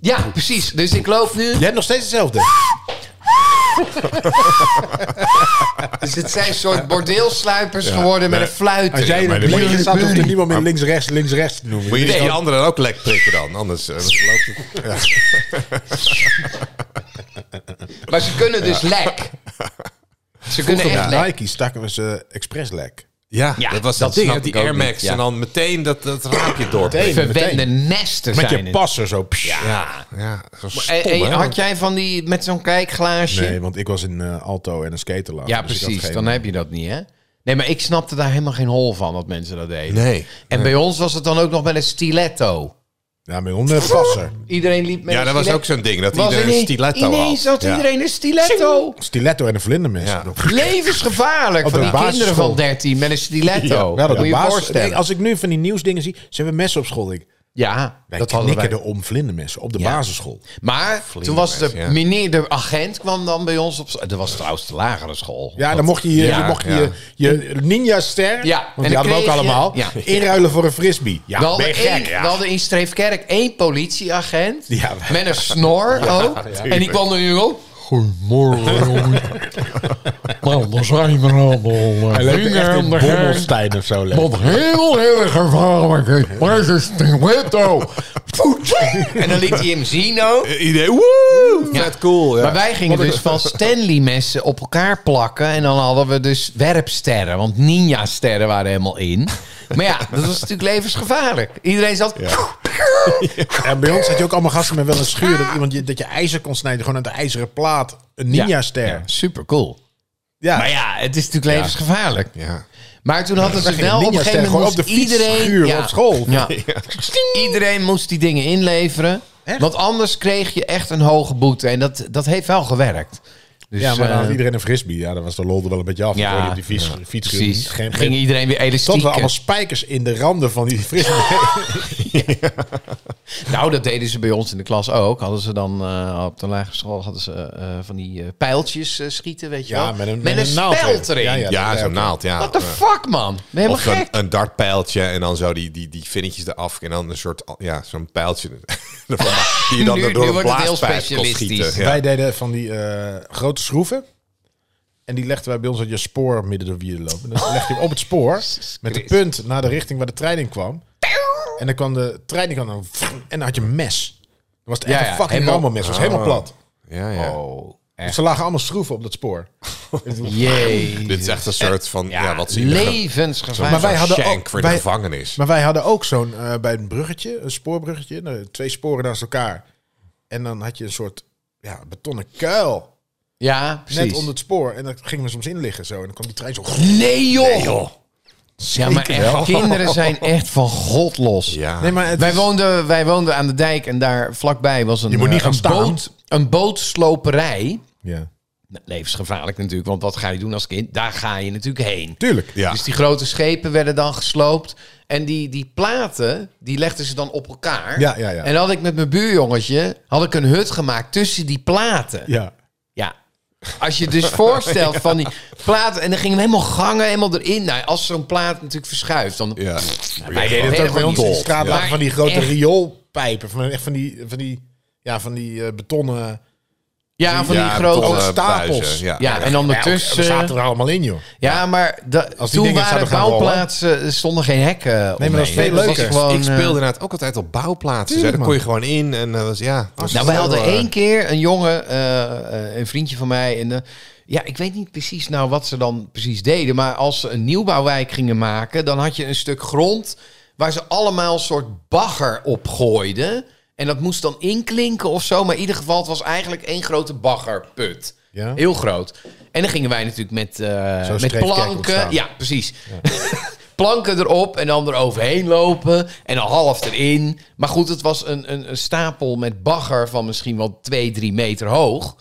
ja, precies. Dus ik loop nu... Je hebt nog steeds hetzelfde. Dus het zijn een soort bordeelsluipers geworden met nee. een fluit. Als jij in maar het dan moet dus biertje je- staat, hoeft er niemand meer links-rechts, links-rechts te noemen. Moet je dus Nee, die dan- anderen ook lek prikken dan? Anders eh, anders loopt het. Maar ze kunnen dus lek. Ze kunnen echt Op lek. Nike stakken we ze expres lek. Ja, dat was dat dat ding. snap hè, Die ik ook Air niet, Max. ja. En dan meteen dat, dat raampje door. Meteen, Verwende meteen. nesten Met zijn je het. passer zo. pssch. Ja, ja zo stom, En, en hè? eh, had jij van die met zo'n kijkglaasje? Nee, want ik was in eh, Alto en een skaterlaag. ja, dus ik had precies. geen- Dan heb je dat niet, hè? Nee, maar ik snapte daar helemaal geen hol van dat mensen dat deden. Nee. En bij ons was het dan ook nog met een stiletto. Ja, met onder een passer. Iedereen liep met Ja, een dat was stiletto. ook zo'n ding. Dat Was iedereen een ineens- stiletto Ineens had. had Ja. iedereen een stiletto. Stiletto en een vlindermes. Ja. Levensgevaarlijk Op voor de die kinderen basisschool. van 13 met een stiletto. We hadden Moet de je je baas. voorstellen. Nee, als ik nu van die nieuwsdingen zie, ze hebben messen op school. Ik, Ja, wij dat hadden wij. knikkerde om vlindermessen op de Ja. basisschool. Maar toen was de ja. meneer, de agent kwam dan bij ons op... Dat was trouwens de lagere school. Ja, dan mocht je je, Ja, je mocht je, ja. je ninja-ster, Ja, en want dan die hadden we ook kreeg je- allemaal, ja. inruilen voor een frisbee. Ja, we, ben hadden je gek. één- ja. we hadden in Streefkerk één politieagent Ja. met een snor ook. en die kwam er nu op. Goedemorgen, jongen. nou, dan zijn we allemaal Hij eh, leek er dingen echt in aan de gang. Bommelstein of zo. leek. Wat heel erg gevaarlijk is. Maar het is een wetto. En dan liet hij hem zien ook. I- Iedereen, Eh, woe! Ja. Vet cool. Ja. Maar wij gingen dus van Stanley-messen op elkaar plakken. En dan hadden we dus werpsterren. Want ninja-sterren waren helemaal in. Maar ja, dat was natuurlijk levensgevaarlijk. Iedereen zat... En bij ons had je ook allemaal gasten met wel een schuur dat, iemand je, dat je ijzer kon snijden. Gewoon uit de ijzeren plaat. Een ninja-ster. Ja. super cool. Maar ja, het is natuurlijk levensgevaarlijk. Ja. Maar toen hadden ze ging wel op een ninja's gegeven tegen, moment gewoon op moest de fiets iedereen schuren op school. Ja. Iedereen moest die dingen inleveren, want anders kreeg je echt een hoge boete en dat, dat heeft wel gewerkt. Dus, Ja, maar dan had eh, iedereen een frisbee. Ja, dan was de lol er wel een beetje af. Ja, Dan kon je op die fiets, fiets precies. Geen, Ging geen, iedereen weer tot we elastiek. allemaal spijkers in de randen van die frisbee. Nou, dat deden ze bij ons in de klas ook. Hadden ze dan eh, op de lagere school hadden ze eh, eh, van die eh, pijltjes eh, schieten, weet je Ja, wel? met een- met met een een naald speld erin. erin. Ja, ja. Ja, dat- zo'n naald. Ja. What the fuck, man? Ben je Of helemaal een, gek. een dartpijltje en dan zo die, die, die vinnetjes eraf. En dan een soort, ja, zo'n pijltje. ervan, die je dan Nu- door nu een wordt het heel blaaspijp kon specialistisch. schieten. Ja. Wij deden van die eh, grote schroeven. En die legden wij bij ons uit je spoor midden door wielen lopen. Dan legde je hem op het spoor met de punt naar de richting waar de trein in kwam. En dan kwam de trein die kwam dan en dan had je een mes. Dan was het echt Ja, een ja, fucking helemaal- rammelmes. Het was helemaal plat. Ja, ja. Oh, Dus echt. ze lagen allemaal schroeven op dat spoor. Jee. Dit is echt een soort van, ja, wat zie je? Levensgevaarlijk. Maar wij hadden Shank ook- voor de wij- gevangenis. Maar wij hadden ook zo'n eh, bij een bruggetje, een spoorbruggetje, nou, twee sporen naast elkaar. En dan had je een soort ja, betonnen kuil Ja, net precies. onder het spoor. En daar gingen we soms in liggen zo. En dan kwam die trein zo. Nee joh. Ja, maar echt, kinderen zijn echt van god los. Ja. Nee, maar het Wij is- woonden, wij woonden aan de dijk en daar vlakbij was een, Je moet niet eh, gaan een, staan. boot, een bootsloperij. Ja. Nou, Levensgevaarlijk natuurlijk, want wat ga je doen als kind? Daar ga je natuurlijk heen. Tuurlijk. Ja. Dus die grote schepen werden dan gesloopt. En die, die platen, die legden ze dan op elkaar. Ja, ja, ja. En dan had ik met mijn buurjongetje, had ik een hut gemaakt tussen die platen. Ja. Ja. Als je dus voorstelt van die plaat... en dan gingen we helemaal gangen, helemaal erin. Nou, als zo'n plaat natuurlijk verschuift, dan... Ja. wij deden Dat het ook bij ons in de straat lagen Maar van die grote echt- rioolpijpen. Van, echt van die, van die, ja, van die eh, betonnen... Ja, van die Ja, grote... betonnen Ook stapels. buizen, Ja, ja, en dan ertussen... we zaten er allemaal in, joh. ja, maar da- Als die toen dingen waren zouden gaan rollen. bouwplaatsen... er stonden geen hekken maar dat is veel leuker. gewoon, ik eh, speelde inderdaad ook altijd op bouwplaatsen. Tuurlijk, Daar kon je gewoon in. En dat was, ja. Nou, wij hadden één keer een jongen, eh, eh, een vriendje van mij. En, eh, ja, ik weet niet precies nou wat ze dan precies deden. Maar als ze een nieuwbouwwijk gingen maken, dan had je een stuk grond Waar ze allemaal een soort bagger op gooiden. En dat moest dan inklinken of zo. Maar in ieder geval, het was eigenlijk één grote baggerput. Ja. Heel groot. En dan gingen wij natuurlijk met, eh, Zo'n met streepkerk planken. ontstaan. Ja, precies. planken erop en dan eroverheen lopen. En een half erin. Maar goed, het was een, een, een stapel met bagger van misschien wel twee, drie meter hoog.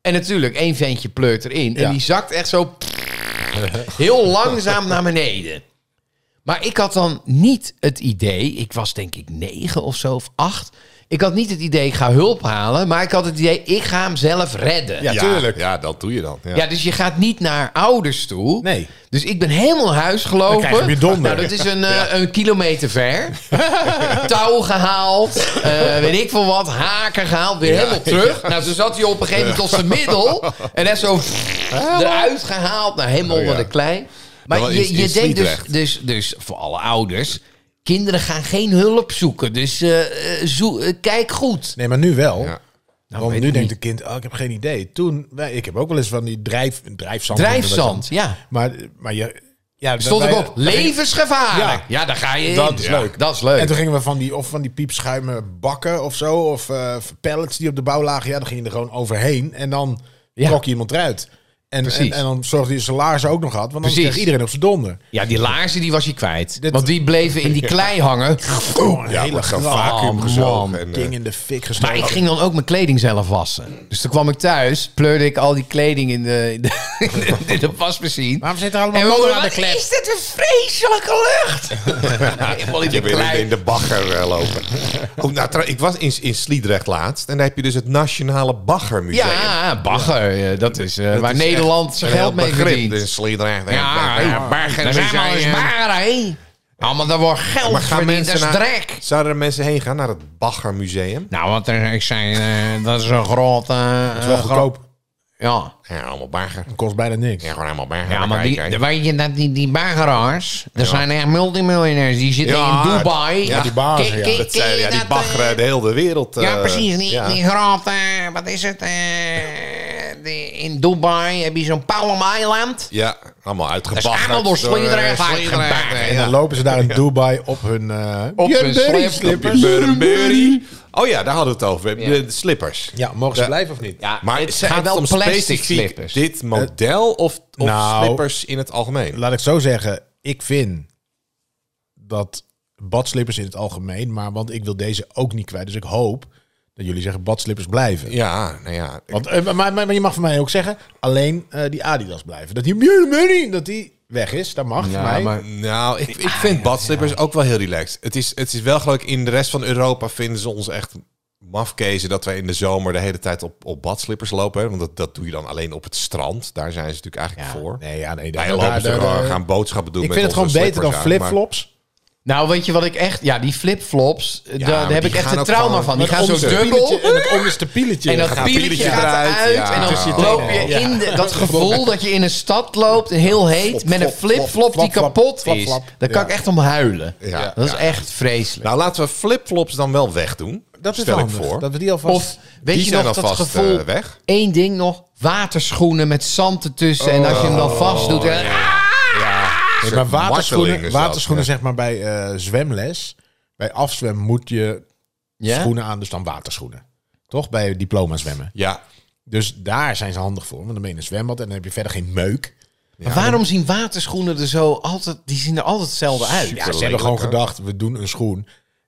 En natuurlijk, één ventje pleurt erin. En Ja. die zakt echt zo heel langzaam naar beneden. Maar ik had dan niet het idee, ik was denk ik negen of zo, of acht. Ik had niet het idee, ik ga hulp halen. Maar ik had het idee, ik ga hem zelf redden. Ja, tuurlijk. Ja, dat doe je dan. Ja. Ja, dus je gaat niet naar ouders toe. Nee. Dus ik ben helemaal naar huis gelopen. Dan krijg je weer donder. Nou, dat is een, eh, een kilometer ver. Touw gehaald. eh, weet ik veel wat. Haken gehaald. Weer helemaal terug. Nou, toen zat hij op een gegeven moment tot zijn middel. En net zo eruit gehaald. Nou, helemaal Oh, onder de klei. Dan Maar wel je, in- je in denkt dus, Sliedrecht. dus, dus voor alle ouders... Kinderen gaan geen hulp zoeken. Dus eh, eh, zoe- eh, kijk goed. Nee, maar nu wel. Ja. Nou, Want weet nu ik denkt niet. het kind, oh, ik heb geen idee. Toen, wij, ik heb ook wel eens van die drijf, drijfzand. Drijfzand, ja. Maar, maar je... Ja, Stond wij- ik op. Levensgevaarlijk. Ja, Ja. daar ga je in. Dat is Ja, leuk. Dat is leuk. En toen gingen we van die, of van die piepschuimen bakken of zo. Of eh, pallets die op de bouw lagen. Ja, dan ging je er gewoon overheen. En dan Ja. trok je iemand eruit. En, Precies. en, en dan zorgde je zijn laarzen ook nog had. Want dan Precies. kreeg iedereen op zijn donder. Ja, die laarzen die was je kwijt. Dit- Want die bleven in die klei hangen. Oh, een Ja, hele wordt zo'n gra- vacuüm man, gezogen en, eh, ding in de fik gestoken. Maar ik ging dan ook mijn kleding zelf wassen. Dus toen kwam ik thuis, pleurde ik al die kleding in de, in de, in de wasmachine. Waarom zit er allemaal En we moeder hoorden, aan de wat klep? is dit een vreselijke lucht? Helemaal in de Je wil in, klei. in de bagger eh, lopen. Oh, nou, trouw- ik was in, in Sliedrecht laatst. En daar heb je dus het Nationale Baggermuseum. Ja, bagger. eh, Dat is eh, Dat waar is Nederland echt zijn een geld heel mee begrip dus. verdient. in Sliedrecht. ja, ja, bagger. We zijn allemaal eens bagger, hè? Allemaal, daar wordt geld Maar gaan verdiend. Dat mensen is naar, drek. zouden er mensen heen gaan naar het Baggermuseum? Nou, wat er, ik zei, eh, dat is een eh, groot... dat Wel goedkoop. Ja. Ja, allemaal bagger. Kost bijna niks. Ja, gewoon allemaal bagger. Ja, maar Kijk, die, kijk. weet je dat die, die baggeraars, dat zijn echt multimiljonairs. Die zitten Ja, in Dubai. ja, die bazen, Ken- ja. ken- dat ken zijn, je ja, die dat, baggeren eh, de hele wereld. ja, eh, precies. Die, ja. die grote, eh, wat is het? eh, die- in Dubai heb je zo'n Palm Island. Ja, allemaal Dat uitgebaggerd. is allemaal door Sliedrecht eh, uitgebaggerd. eh, En dan ja. lopen ze daar in Dubai op hun... eh, Op hun Burberry slip- slippers. Burberry. Oh ja, daar hadden we het over. De de slippers. Ja, mogen ze blijven of niet? Ja, Maar het gaat wel om specifiek dit model of, Eh, of nou, slippers in het algemeen? Laat ik zo zeggen, ik vind dat badslippers in het algemeen, maar want ik wil deze ook niet kwijt. Dus ik hoop dat jullie zeggen badslippers blijven. Ja, nou ja. Want, eh, maar, maar, maar je mag van mij ook zeggen, alleen eh, die Adidas blijven. Dat die Mule Money, dat die weg is, dat mag voor mij. Nou, ik, ik Ah, vind badslippers ook wel heel relaxed. Het is, het is wel geloof ik, in de rest van Europa vinden ze ons echt mafkezen dat wij in de zomer de hele tijd op, op badslippers lopen. hè. Want dat, dat doe je dan alleen op het strand. Daar zijn ze natuurlijk eigenlijk voor. Nee, ja, nee. Wij daar- lopen ze daar- gewoon, daar- gaan boodschappen doen Ik met vind het gewoon onze beter dan slippers aan, maar- flipflops. Nou, weet je wat ik echt... Ja, die flipflops, eh, daar, maar daar heb die ik echt gaan een ook trauma gewoon- van. Die met gaan zo onze dubbel. Pieletje En het onderste pieletje. En dat gaat- pieletje pieletje gaat eruit, eruit. ja. En Tussen dan je loop tenen, je ja. in de, dat gevoel dat je in een stad loopt, heel heet, met een flop, flop, flipflop die flap, flap, kapot flap, is. flap. Daar kan Ja. ik echt om huilen. Ja. Dat is Ja. echt vreselijk. Nou, laten we flipflops dan wel wegdoen. Dat is stel wel ik handig, voor. Dat we die alvast... Of weet Die je zijn nog dat alvast, gevoel? eh, weg. Eén ding nog: waterschoenen met zand ertussen. en als je hem Oh, dan vast doet. en- Nee, Een maar soort marteling waterschoenen, is dat, waterschoenen ja. zeg maar bij eh, zwemles. Bij afzwem moet je Ja? schoenen aan, dus dan waterschoenen. Toch? Bij diploma zwemmen. Ja, Dus daar zijn ze handig voor. Want dan ben je in een zwembad en dan heb je verder geen meuk. Maar waarom zien waterschoenen er zo altijd? Die zien er altijd hetzelfde Ja, uit. ze hebben gewoon lelijk, hè? gedacht, we doen een schoen.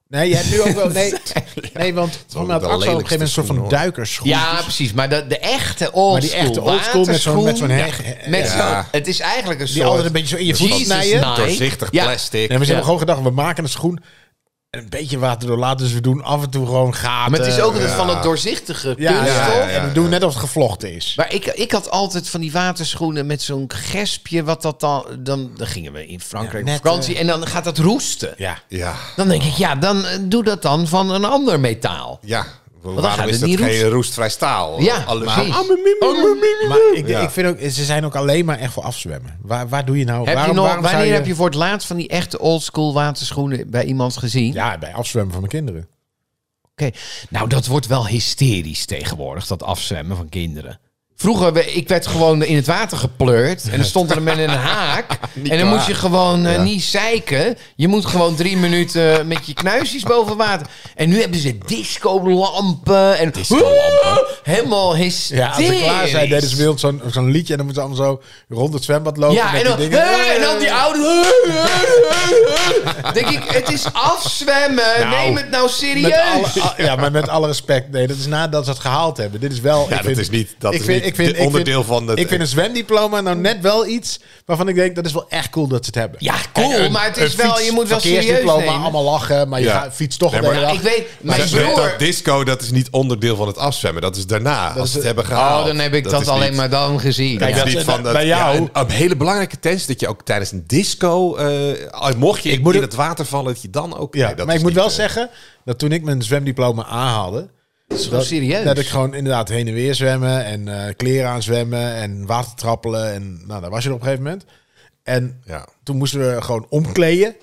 Nee, je hebt nu ook wel... Nee, nee want voor mij had de Axel op een gegeven moment een lelijkste soort van schoenen, hoor. duikerschoen. Ja, precies. Maar de, de echte oldschool. Maar die echte oldschool met zo'n- met zo'n waterschoen, heg- met zo'n- Ja. Het is eigenlijk een soort. Die altijd een beetje zo in je voet Jesus snijden. knife. nou doorzichtig Ja. Nee, maar plastic. ze nou. Ja. hebben gewoon gedacht, we maken een schoen. En een beetje water door laten. Dus we doen af en toe gewoon gaten. Maar het is ook altijd Ja. van het doorzichtige Ja, ja, kunststof. ja, ja. En we doen net alsof het gevlochten is. Maar ik, ik had altijd van die waterschoenen met zo'n gespje. Wat dat dan, dan, dan gingen we in Frankrijk Ja, net, eh, op vakantie. En dan gaat dat roesten. Ja. Ja, Dan denk ik, ja, dan eh, doe dat dan van een ander metaal. ja. gaat Waarom het is dat niet geen roesten. roestvrij staal? Ja, Alles- precies. Ah, mimimi, Oh, mimimi. Maar ik, Ja. ik vind ook, ze zijn ook alleen maar echt voor afzwemmen. Waar, waar doe je nou? Heb waarom, je nog, waarom zou wanneer heb je voor het laatst van die echte oldschool waterschoenen bij iemand gezien? Ja, bij afzwemmen van mijn kinderen. Oké. Nou, dat wordt wel hysterisch tegenwoordig, dat afzwemmen van kinderen. Vroeger, we- ik werd gewoon in het water gepleurd. En dan stond er een man in een haak. en dan waar. moest je gewoon eh, niet zeiken. Je moet gewoon drie minuten met je knuisjes boven water. En nu hebben ze discolampen. En helemaal hysterisch. Ja, als ze klaar zijn, deden ze wild zo'n zo'n liedje. En dan moeten ze allemaal zo rond het zwembad lopen. Ja, met en dan, die dingen. eh, en dan die oude. Denk ik, het is afzwemmen. Neem het nou Met serieus. alle, al- ja, maar met alle respect. Nee, dat is nadat ze het gehaald hebben. Dit is wel... Ja, ik dat is niet- dat is niet de vind- onderdeel van het- Ik vind een zwemdiploma nou net wel iets waarvan ik denk... dat is wel echt cool dat ze het hebben. Ja, cool, Kijk, een- maar het is een wel, fiets- je moet wel serieus verkeersdiploma, nemen. allemaal Dus lachen, maar je Ja. gaat, fietst toch Nee, de maar- hele Ja, dag. ik weet, mijn Dat, broer... dat disco, dat is niet onderdeel van het afzwemmen. Dat is daarna, als ze het hebben gehaald. Oh, dan heb ik dat, is alleen niet- maar dan gezien. dat Kijk, Ja. is dat- niet van dat, bij jou- Ja, een, een hele belangrijke tens is dat je ook tijdens een disco, eh, mocht je Ik moet in het- het water vallen, dat je dan ook... Ja, nee, dat maar ik is moet niet, wel eh, zeggen dat toen ik mijn zwemdiploma aanhaalde... Dat is gewoon serieus. Dat ik gewoon inderdaad heen en weer zwemmen en eh, kleren aan zwemmen en water trappelen. En nou, daar was je er op een gegeven moment. En Ja. toen moesten we gewoon omkleden.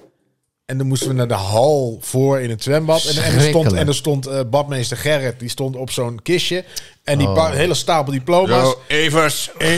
En dan moesten we naar de hal voor in het zwembad. En, en er stond, en er stond eh, badmeester Gerrit, die stond op zo'n kistje. En Oh. die pa- hele stapel diploma's. Yo, Evers.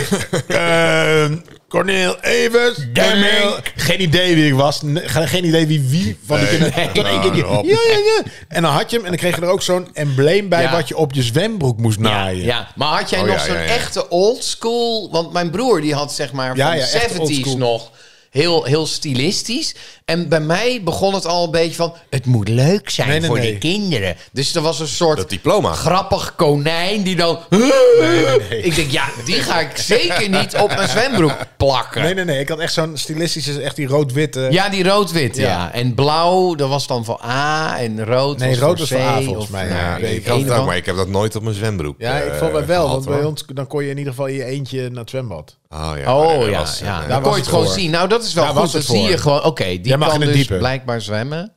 Ehm, Corneel Evers. Corneel. Geen idee wie ik was. Nee, ge- geen idee wie wie van die kinderen. Toen één keer die- nou, op. Ja, ja, ja. En dan had je hem. En dan kreeg je er ook zo'n embleem bij Ja. wat je op je zwembroek moest naaien. Ja, Ja, maar had jij Oh, nog ja, zo'n ja, ja. echte old school? Want mijn broer die had zeg maar Ja, van ja, echt old de 70s school. nog. Heel, heel stilistisch. En bij mij begon het al een beetje van... Het moet leuk zijn Nee, nee, voor nee. de kinderen. Dus er was een soort... Dat diploma. Grappig konijn die dan... Ik denk, ja, die ga ik zeker niet op mijn zwembroek plakken. Nee, nee, nee. Ik had echt zo'n stilistische, echt die rood-witte. Ja, die rood-wit, eh, ja. Ja. En blauw, dat was dan voor A. En rood Nee, was rood voor was voor C A volgens of- mij, nou, ja. Ja, weet ik ik had een het ook, of maar ik heb dat nooit op mijn zwembroek eh, Ja, ik vond mij mij wel. Want bij ons, dan kon je in ieder geval in je eentje naar het zwembad. Oh ja, Oh nee, dat ja, was, eh, ja. nee. was dan kon het je het gewoon voor. zien. Nou, dat is wel Daar goed. was Dan het zie voor. je gewoon, oké, die Jij mag kan in het dus diepe. blijkbaar zwemmen.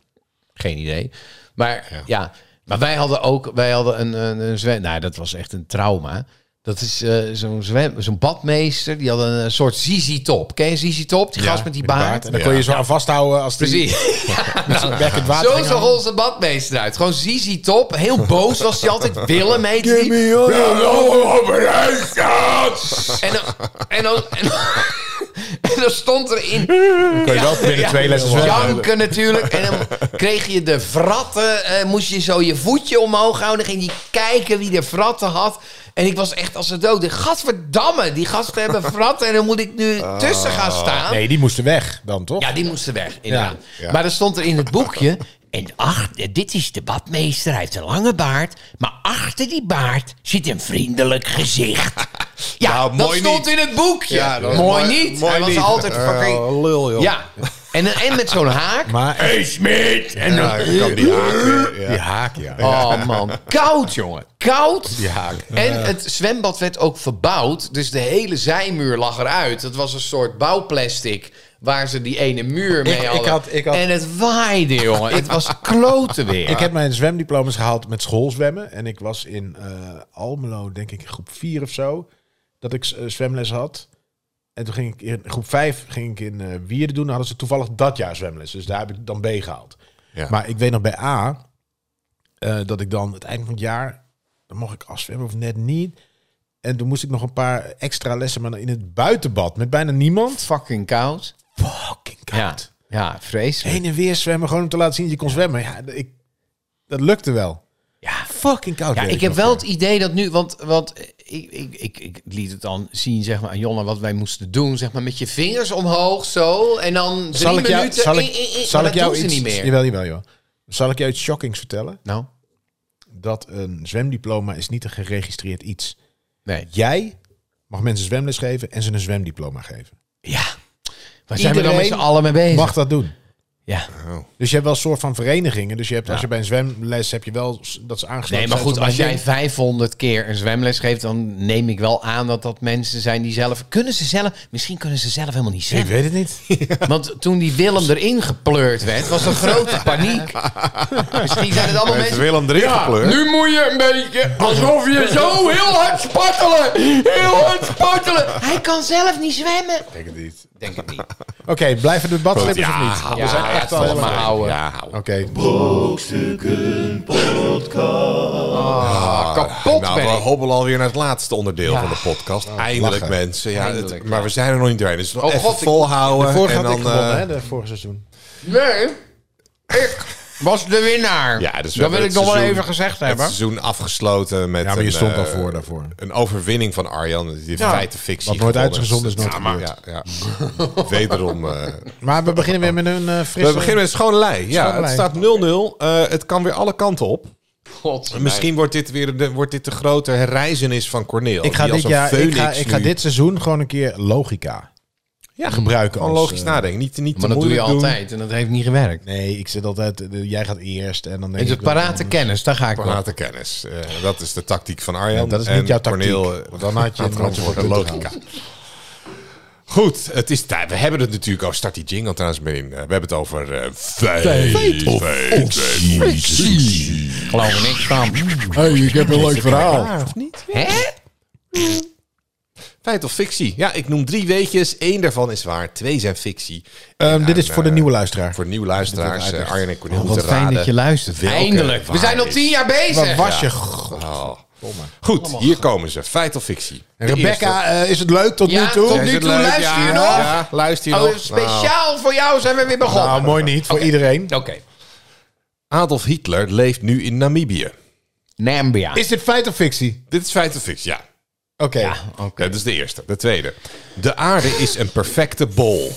Geen idee. Maar ja. maar wij hadden ook, wij hadden een, een, een zwem... Nou, dat was echt een trauma. Dat is eh, zo'n zwem, zo'n badmeester, die had een soort Zizi Top. Ken je Zizi Top? Die gast met die baard. En dan kon je zo aan vasthouden als die Ah, Precies. met zijn bek in het water Zo ging zag hangen. onze badmeester uit. Gewoon Zizi Top. Heel boos was hij altijd. Willem heet hij. En dan, en dan, en dan, en dan stond er in... Dan kon je wel binnen twee lessen zwemmen. Janken natuurlijk. En dan kreeg je de vratten. eh, moest je zo je voetje omhoog houden. Dan ging je kijken wie de vratten had. En ik was echt als de dood. Ik dacht, Gadverdamme, die gasten hebben vratten. En dan moet ik nu tussen gaan staan. Nee, die moesten weg dan, toch? Ja, die moesten weg, inderdaad. Maar er stond er in het boekje... En ach, dit is de badmeester, hij heeft een lange baard. Maar achter die baard zit een vriendelijk gezicht. Ja, Nou, dat mooi stond niet. in het boekje. Ja, dat was mooi, mooi- niet. mooi hij was niet. altijd fucking... Oh, Eh, lul, joh. ja, en, en met zo'n haak. Maar En dan kan die haken. die Ja. haak, ja. Oh man, koud jongen, koud. Ja. En het zwembad werd ook verbouwd, dus de hele zijmuur lag eruit. Dat was een soort bouwplastic waar ze die ene muur mee Ik- ik hadden. had- ik had- En het waaide jongen, het was kloten weer. Ik heb mijn zwemdiploma's gehaald met schoolzwemmen. En ik was in eh, Almelo, denk ik, groep 4 of zo. Dat ik eh, zwemles had. En toen ging ik in groep 5 ging ik in eh Wierden doen. Dan hadden ze toevallig dat jaar zwemles. Dus daar heb ik dan B gehaald. Ja. Maar ik weet nog bij A... eh, dat ik dan het eind van het jaar... dan mocht ik afzwemmen of net niet. En toen moest ik nog een paar extra lessen... maar dan in het buitenbad met bijna niemand. Fucking koud. Fucking Ja, koud. ja vreselijk. Heen en weer zwemmen, gewoon om te laten zien dat je kon zwemmen. Ja, d- ik, dat lukte wel. Ja. Fucking koud. Ja, weet ik heb nog. wel het idee dat nu, want, want ik, ik, ik, ik liet het dan zien zeg maar, aan Jonna wat wij moesten doen. Zeg maar, met je vingers omhoog zo en dan drie zal ik jou, minuten. zal eh, ik, eh, eh, maar zal ik dat jou doen ze iets, niet meer. Jawel, jawel, jawel. Zal ik jou iets shockings vertellen? Nou, Dat een zwemdiploma is niet een geregistreerd iets. nee. Jij mag mensen zwemles geven en ze een zwemdiploma geven. Ja. Waar zijn we dan Iedereen met z'n allen mee bezig? Mag dat doen. Ja. Dus je hebt wel een soort van verenigingen. Dus je hebt, als je bij een zwemles heb je wel s- dat ze aangesloten Nee, maar zijn goed, tot als mijn jij 500 keer een zwemles geeft, dan neem ik wel aan dat dat mensen zijn die zelf... Kunnen ze zelf... Misschien kunnen ze zelf helemaal niet ding. Ik zwemmen. weet het niet. Want toen die Willem erin gepleurd werd, was een grote paniek. Misschien zijn het allemaal mensen... Willem erin gepleurd. Nu moet je een beetje alsof je zo heel hard spartelen. Heel hard spartelen. Hij kan zelf niet zwemmen. Ik denk het niet. Denk ik niet. Oké, blijven de badslippers Ja, of niet? Er Ah, zijn echt het wel valt helemaal mee. ouwe. Ja, ouwe. Oké. Brokstukken Podcast. kapot nou, ben we ik. hobbelen alweer naar het laatste onderdeel van de podcast. Eindelijk, lachen. mensen. Ja, het- Eindelijk, maar ja. we zijn er nog niet doorheen. Dus nog Oh, even god, ik- volhouden. Vorig en had dan, ik gewonnen, eh, hè, de vorige seizoen. Nee, ik was de winnaar. Ja, dus we dat hebben wil ik het nog wel seizoen- even gezegd het hebben. seizoen afgesloten met Ja, maar je een, stond al eh, voor daarvoor. Een overwinning van Arjan. Die heeft Ja. feiten fictie Wat nooit gewonnen. uitgezonden is Dus nooit het- ja, maar- ja, ja. Wederom... eh, Maar we beginnen weer met een eh we frisse... beginnen met een schone lei. Ja, Schone het lei. staat 0-0. Eh, het kan weer alle kanten op. God, Misschien wordt dit weer de, wordt dit de grote herreizenis van Corneel. ik ga, die als dit een jaar, ik, phoenix ga, ik ga nu- dit seizoen gewoon een keer logica Ja, gebruiken. Gewoon als, logisch eh, nadenken. Niet, niet te Maar dat doe je moeilijk doen. altijd en dat heeft niet gewerkt. Nee, ik zit altijd... eh, jij gaat eerst en dan denk Is ik... het parate kennis, daar ga ik wel. Parate kennis. Eh, dat is de tactiek van Arjan. Ja, dat is niet En jouw tactiek. Corneel, eh, Want dan had je gaat een gewoon rondje voor voor de punten logica. Goed, het is tijd. We hebben het natuurlijk al start die jingle trouwens mee in. Eh, We hebben het over eh feit, of fictie. Geloof er niks van. hey, ik heb een leuk verhaal. of niet? Hè? Feit of fictie. Ja, ik noem drie weetjes. Eén daarvan is waar, twee zijn fictie. Ehm, dit is voor de eh, nieuwe luisteraar. Voor nieuwe luisteraars, eh, Arjan en Cornel Oh, moeten wat fijn raden dat je luistert. welke Eindelijk. We waar zijn al is. tien jaar Waar bezig. was je? Oh. Goed, hier komen ze. Feit of fictie. De eerste. Rebecca, eh, is het leuk tot Ja, nu toe? tot Is nu het toe leuk? luister je Ja, nog? Ja, luister je Oh, nog. Nou, speciaal voor jou zijn we weer begonnen. Nou, mooi niet. Voor iedereen. Oké. Adolf Hitler leeft nu in Namibië. Nambia. Is dit feit of fictie? Dit is feit of fictie, ja. Oké. Ja, Dat is de eerste. De tweede. De aarde is een perfecte bol.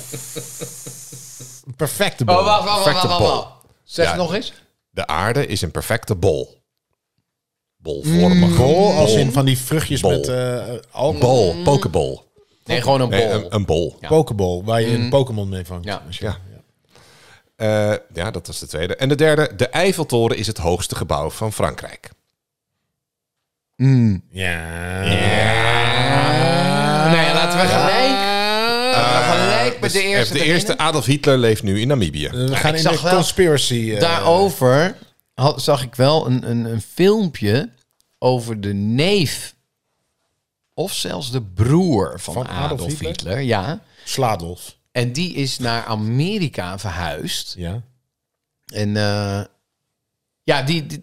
Perfecte Oh, bal. wacht, wacht, wacht, wacht, wacht. Perfecte Zeg Ja. het nog eens. De aarde is een perfecte bol. Bolvormig. Bol, als in van die vruchtjes Bol. met eh alcohol. Bol, pokebol. Nee, gewoon een bol. Nee, een, een bol. Ja. Pokeball, waar je een Pokémon mee vangt. Mm. Ja. Als je- ja. Eh, ja, dat was de tweede. En de derde. De Eiffeltoren is het hoogste gebouw van Frankrijk. nee, laten we gelijk. laten we gelijk met de eerste. dus eh, de beginnen. eerste Adolf Hitler leeft nu in Namibië. We gaan ik in zag de wel- conspiracy. eh, Daarover had, zag ik wel een, een, een filmpje over de neef. Of zelfs de broer van, Van Adolf, Adolf Hitler. Hitler? Ja. Sladolf. En die is naar Amerika verhuisd. Ja. En eh, ja, die, die,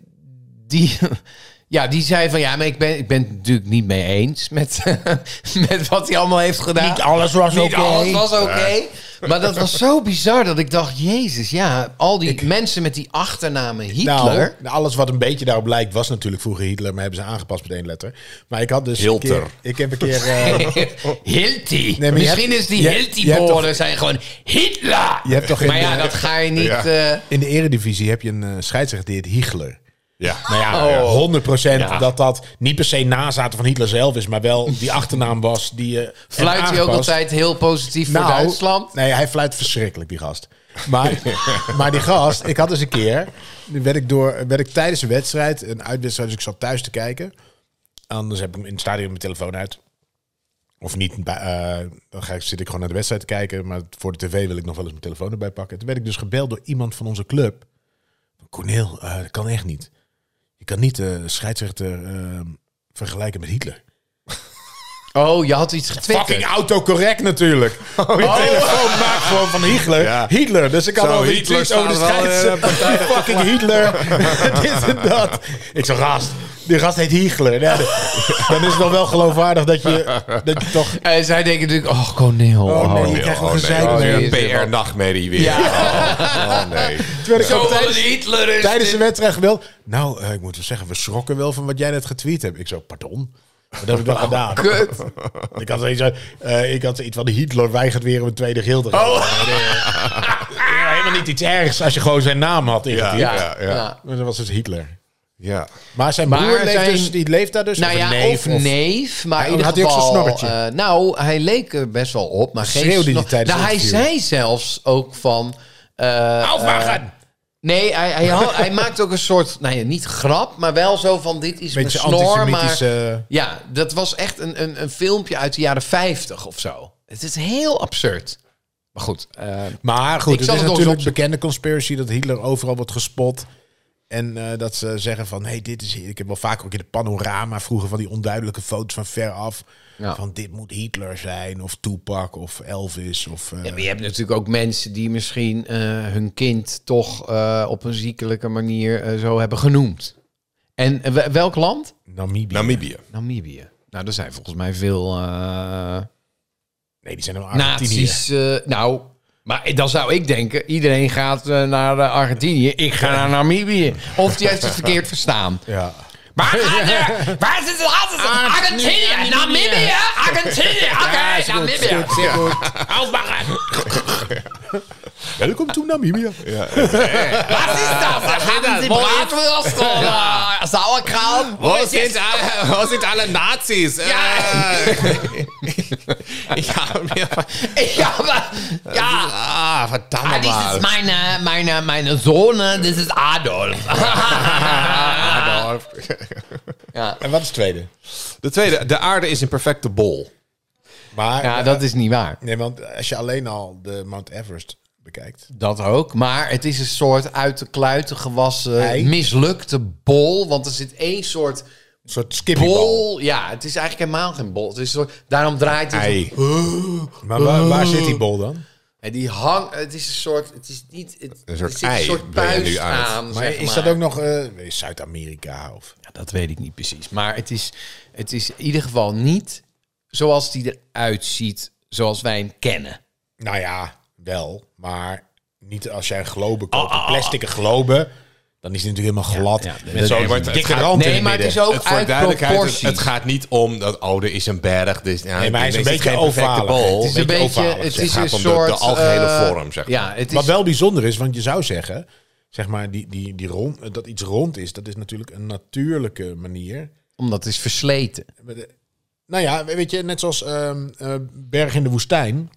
die- ja, die zei van ja, maar ik ben, ik ben het natuurlijk niet mee eens met, met wat hij allemaal heeft gedaan. Niet Alles was Niet alles was oké. Maar dat was zo bizar dat ik dacht, jezus, ja, al die mensen met die achternamen Hitler. Nou, alles wat een beetje daarop lijkt was natuurlijk vroeger Hitler, maar hebben ze aangepast met één letter. Maar ik had dus een Hilter. keer, ik heb een keer eh, Hilti. maar je Misschien hebt- is die je- je hebt Hilti-woorden zijn gewoon Hitler. Je hebt toch in maar ja, de- dat ga je niet... Ja. eh, in de eredivisie heb je een eh, scheidsrechter die het Hitler. Ja. Oh. Nou Oh. ja, eh, 100% dat dat niet per se nazaten van Hitler zelf is, maar wel die achternaam was die eh Fluit hij ook aangepast. altijd heel positief Nou. voor Duitsland? Nee, hij fluit verschrikkelijk, die gast. Maar, maar die gast, ik had eens een keer. nu Werd ik, door, werd ik tijdens een wedstrijd, een uitwedstrijd, dus ik zat thuis te kijken. Anders heb ik hem in het stadion mijn telefoon uit. Of niet, bij- eh, dan ga ik, zit ik gewoon naar de wedstrijd te kijken. Maar voor de tv wil ik nog wel eens mijn telefoon erbij pakken. Toen werd ik dus gebeld door iemand van onze club. Corneel, eh, dat kan echt niet. Je kan niet de scheidsrechter eh, vergelijken met Hitler. Oh, je had iets getwitterd. Fucking autocorrect natuurlijk. Oh, je telefoon maakt gewoon van Hitler. Ja. Hitler. Dus ik had Zo, al die Hitler tweets over de staat wel, eh, scheids. fucking Hitler. Dit en dat. Ik zo, gast. Die gast heet Hitler. Ja, dan is het dan wel geloofwaardig dat je, dat je toch... En zij denken natuurlijk, oh, Cornel. Oh, nee. Oh, Je krijgt nog een nee, zeik oh, nee, mee. een PR-nachtmerrie weer. Ja. Oh, oh, nee. Terwijl ik ook Tijdens, tijdens, Hitler is tijdens de dit. wedstrijd wel... Nou, eh, ik moet wel zeggen, we schrokken wel van wat jij net getweet hebt. Ik zo, pardon? Wat heb ik dan gedaan? Kut. Ik had zoiets, eh, ik had iets van Hitler weigert weer om een tweede geel te gaan. Oh. Oh. Ja, helemaal niet iets ergs als je gewoon zijn naam had ingetypt. Ja, Ja, ja, ja, ja. Maar dat was dus Hitler. Ja. Maar zijn Maar broer leeft, zijn- dus, die leeft daar dus. Nou Of ja, een of neef. Maar Hij- in ieder had hij ook zo'n geval, snorretje? eh, nou, hij leek er best wel op. Maar geen Schreeuwde hij snor- tijdens nou, het hij interview? zei zelfs ook van... eh, eh, nee, hij, hij, had- hij maakt ook een soort, nou ja, niet grap, maar wel zo van dit is mijn beetje snor. Maar, antisemitische... ja, dat was echt een, een, een filmpje uit de jaren 50 of zo. Het is heel absurd. Maar goed, eh, Maar Ik goed, het zal is het nog eens natuurlijk opzoeken. bekende conspiracy dat Hitler overal wordt gespot. En eh, dat ze zeggen van, hey, dit is... Ik heb wel vaak ook in de panorama vroeger van die onduidelijke foto's van ver af. Ja. Van dit moet Hitler zijn, of Tupac, of Elvis, of... eh, Ja, maar je hebt natuurlijk ook mensen die misschien eh, hun kind toch eh, op een ziekelijke manier eh, zo hebben genoemd. En eh, we- welk land? Namibië. Namibië. Namibië. Nou, er zijn volgens mij veel eh nee, die zijn helemaal Argentinië. naties. eh, nou, maar dan zou ik denken, iedereen gaat eh, naar eh, Argentinië, ik ga naar Namibië. Of die heeft het verkeerd verstaan. Ja. Waar gaat er? eh, Waar is het altijd? Argentinië, Namibië, Argentinië. Oké, Namibië. Uitmaken. Welkom to Namibië. Wat is dat? Ah, Wat hebben ze braadwurst of eh, sauerkraut? Wo sind, alle, wo sind alle Nazis? Ja. Äh, ich habe mir... Ja, aber, ja. Ah, Ah, verdammt dies mal. ist meine, meine, meine Sohn, das ist Adolf. Adolf. En wat is het tweede? De tweede, de aarde is een perfecte bol. Maar, Ja, dat is niet waar. nee, want als je alleen al de Mount Everest bekijkt. Dat ook. Maar het is een soort uit de kluiten gewassen, Ei. mislukte bol. Want er zit één soort Een soort skippiebal. bol. Ja, het is eigenlijk helemaal geen bol. Het is een soort, daarom draait het. Ei. Maar waar, waar zit die bol dan? En die hang, het is een soort, het is niet, het, Een soort er zit ei een soort ben je nu puist uit. aan. Maar zeg is dat ook nog eh, Zuid-Amerika? Of... Ja, dat weet ik niet precies. Maar het is, het is in ieder geval niet zoals die eruit ziet, zoals wij hem kennen. Nou ja, wel. Maar niet als jij een globe Ah, koopt. Een plastic globe. Dan is die natuurlijk helemaal glad. ja, met dat- zo'n nee, maar het- het dikke gaat- rand in Nee, het maar het midden. is ook Het, voor uit duidelijkheid, het, proportie. het gaat niet om dat, oh, er is een berg. Dus, ja, Nee, maar hij is dan een het beetje geen perfecte ovalig. bol. Het Het is een beetje, ovalig, het zeg. is Het een gaat om de- soort... de algehele eh, vorm, zeg maar. Ja, het is... Wat wel bijzonder is, want je zou zeggen... Zeg maar, die, die, die rond, dat iets rond is, dat is natuurlijk een natuurlijke manier. Omdat het is versleten. Maar de- Nou ja, weet je, net zoals ehm eh, bergen in de woestijn.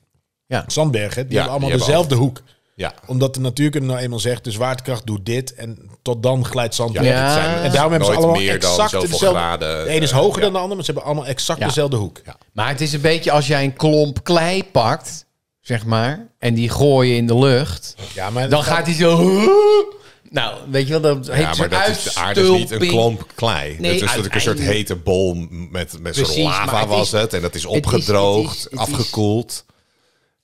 Ja. Zandbergen, die Ja, hebben allemaal die hebben dezelfde hoek. Ja. Omdat de natuurkunde nou eenmaal zegt, de zwaartekracht doet dit en tot dan glijdt zand Ja, weg. Ja. het zijn En daarom hebben ze nooit allemaal meer dan exact zoveel dezelfde... graden, de ene is eh, hoger ja. dan de ander, maar ze hebben allemaal exact Ja. dezelfde hoek. Maar het is een beetje als jij een klomp klei pakt, zeg maar, en die gooi je in de lucht, Ja, maar dan gaat hij zo. Nou, weet je wel, dat Ja, heeft maar zo'n dat is, de aarde is niet een uitstulping. klomp klei. Nee, het is natuurlijk een soort uiteindelijk- hete bol met, met Precies, zo'n maar lava het was is- het. En dat is is- opgedroogd, het is- het is- afgekoeld.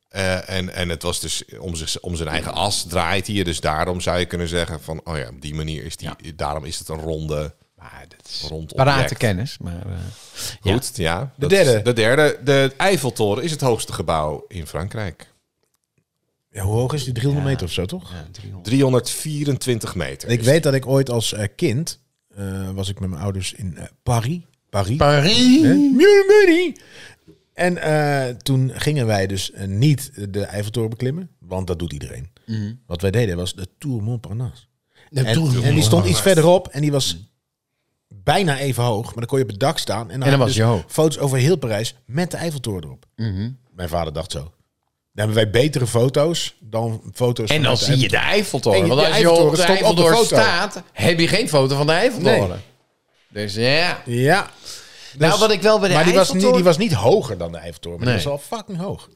Eh, en, en het was dus om, zich, om zijn eigen as draait hij. Dus daarom zou je kunnen zeggen van, oh ja, op die manier is die, daarom is het een ronde, Maar Ah, dat is rond parate object. kennis. Maar, eh, ja. Goed, ja. De dat is- derde. De derde. De Eiffeltoren is het hoogste gebouw in Frankrijk. Ja, hoe hoog is die? 300 meter of zo, toch? 324 meter. Ik weet dat ik ooit als eh, kind, eh, was ik met mijn ouders in eh, Paris. Paris. Paris. Hè? Mjuri, mjuri. En eh, toen gingen wij dus eh, niet de Eiffeltoren beklimmen, want dat doet iedereen. Wat wij deden was de Tour Montparnasse. Mhm. De en, en Tour die Montparnasse. stond iets verderop en die was bijna even hoog, maar dan kon je op het dak staan. En dan, En dan had was je hoog. Mhm. foto's over heel Parijs met de Eiffeltoren erop. Mijn vader dacht zo. Dan hebben wij betere foto's dan foto's En dan vanuit de zie je de Eiffeltoren. En Eiffeltoren. je- Want de als je op Eiffeltoren de stond op de Eiffeltoren foto. staat, heb je geen foto van de Eiffeltoren. Dus ja. Ja. Dus- nou, wat ik wel bij de maar die was, niet, Eiffeltoren- die was niet hoger dan de Eiffeltoren, maar die Nee. was al fucking hoog.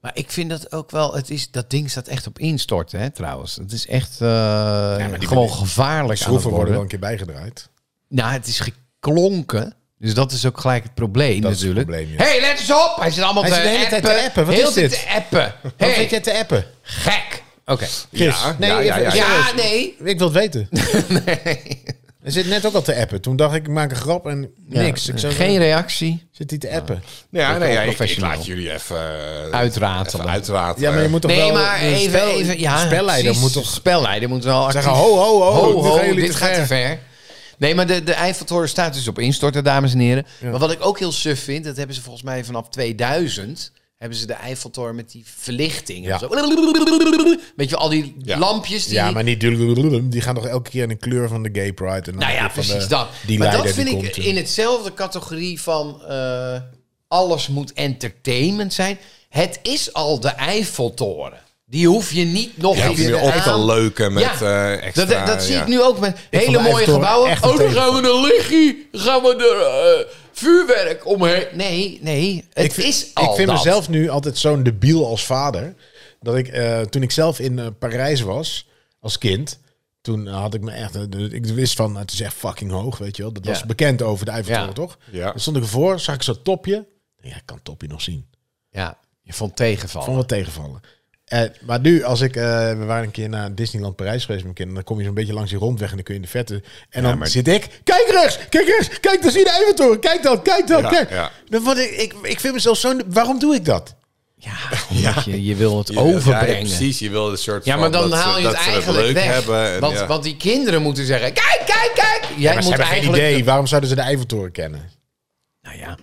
Maar ik vind dat ook wel. Het is, dat ding staat echt op instorten, hè, trouwens. Het is echt eh, gewoon gevaarlijk. aan het Schroeven worden worden. wel een keer bijgedraaid. Nou, het is geklonken. Dus dat is ook gelijk het probleem Dat is het natuurlijk. probleem, ja. hey, let eens op! Hij zit allemaal Hij te zit de hele appen. tijd te appen. Wat Heel is de tijd dit? te appen. Wat hey, vind jij te appen? gek! Oké. Chris, Ja, nee, ja, ja, even- ja, Ja, nee. Ik wil het weten. Er zit net ook al te appen. Toen dacht ik, ik maak een grap en niks. Ik zei, Geen reactie. Zit hij te appen? Ja, nee, ja, ik- ik, professioneel. laat jullie even, eh, Uitratelen. even uitratelen. Ja, maar je moet toch nee, wel... maar de even, spel- even. Ja, de spelleider precies. moet toch Spelleider moet wel actief. zeggen, ho, ho, ho. ho, nu ho, gaan jullie dit te gaat ver. te ver. Nee, maar de, de Eiffeltoren staat dus op instorten, dames en heren. Maar wat ik ook heel suf vind, dat hebben ze volgens mij vanaf 2000... hebben ze de Eiffeltoren met die verlichting. Ja. En zo. Weet je, al die Ja. lampjes die... Ja, maar niet... Die die gaan toch elke keer in de kleur van de gay pride. En dan nou ja, weer van de- precies dat. Die maar dat leider vind die ik komt. in hetzelfde categorie van... eh, alles moet entertainment zijn. Het is al de Eiffeltoren. Die hoef je niet nog Ja, eens om je op te aan- leuken met Ja, eh, extra... dat, dat zie ja. ik nu ook met vond de hele mooie Eiffeltoren gebouwen. echt een Oh, dan gaan we tegenvaller. naar Liggie. Dan gaan we naar eh, vuurwerk omheen. Nee, nee. Het vind- is al Ik vind dat. mezelf nu altijd zo'n debiel als vader. Dat ik, eh, toen ik zelf in eh, Parijs was, als kind... Toen had ik me echt... eh, Ik wist van, het is echt fucking hoog, weet je wel. Dat Ja. was bekend over de Eiffeltoren, Ja. toch? Ja. Dan stond ik ervoor, zag ik zo'n topje. Ja, ik kan het topje nog zien. Ja, je vond tegenval. Vond het tegenvallen. Eh, maar nu, als ik... eh, we waren een keer naar Disneyland Parijs geweest met mijn kinderen. Dan kom je zo'n beetje langs die rondweg en dan kun je in de verte... En dan zit ik... Kijk rechts! Kijk rechts! Kijk, daar zie je de Eiffeltoren! Kijk dat! Kijk dat! Ja, kijk. ja. Dan word ik, ik, ik vind mezelf zo... Waarom doe ik dat? Ja, omdat Je, je wil het overbrengen. Ja, precies, je wil een soort Ja, maar van dan dat ze- haal je dat het ze eigenlijk leuk weg. hebben. en want, ja. want die kinderen moeten zeggen: kijk, kijk, kijk. Jij Maar ze moet hebben geen eigenlijk. idee. Waarom zouden ze de Eiffeltoren kennen? Nou ja.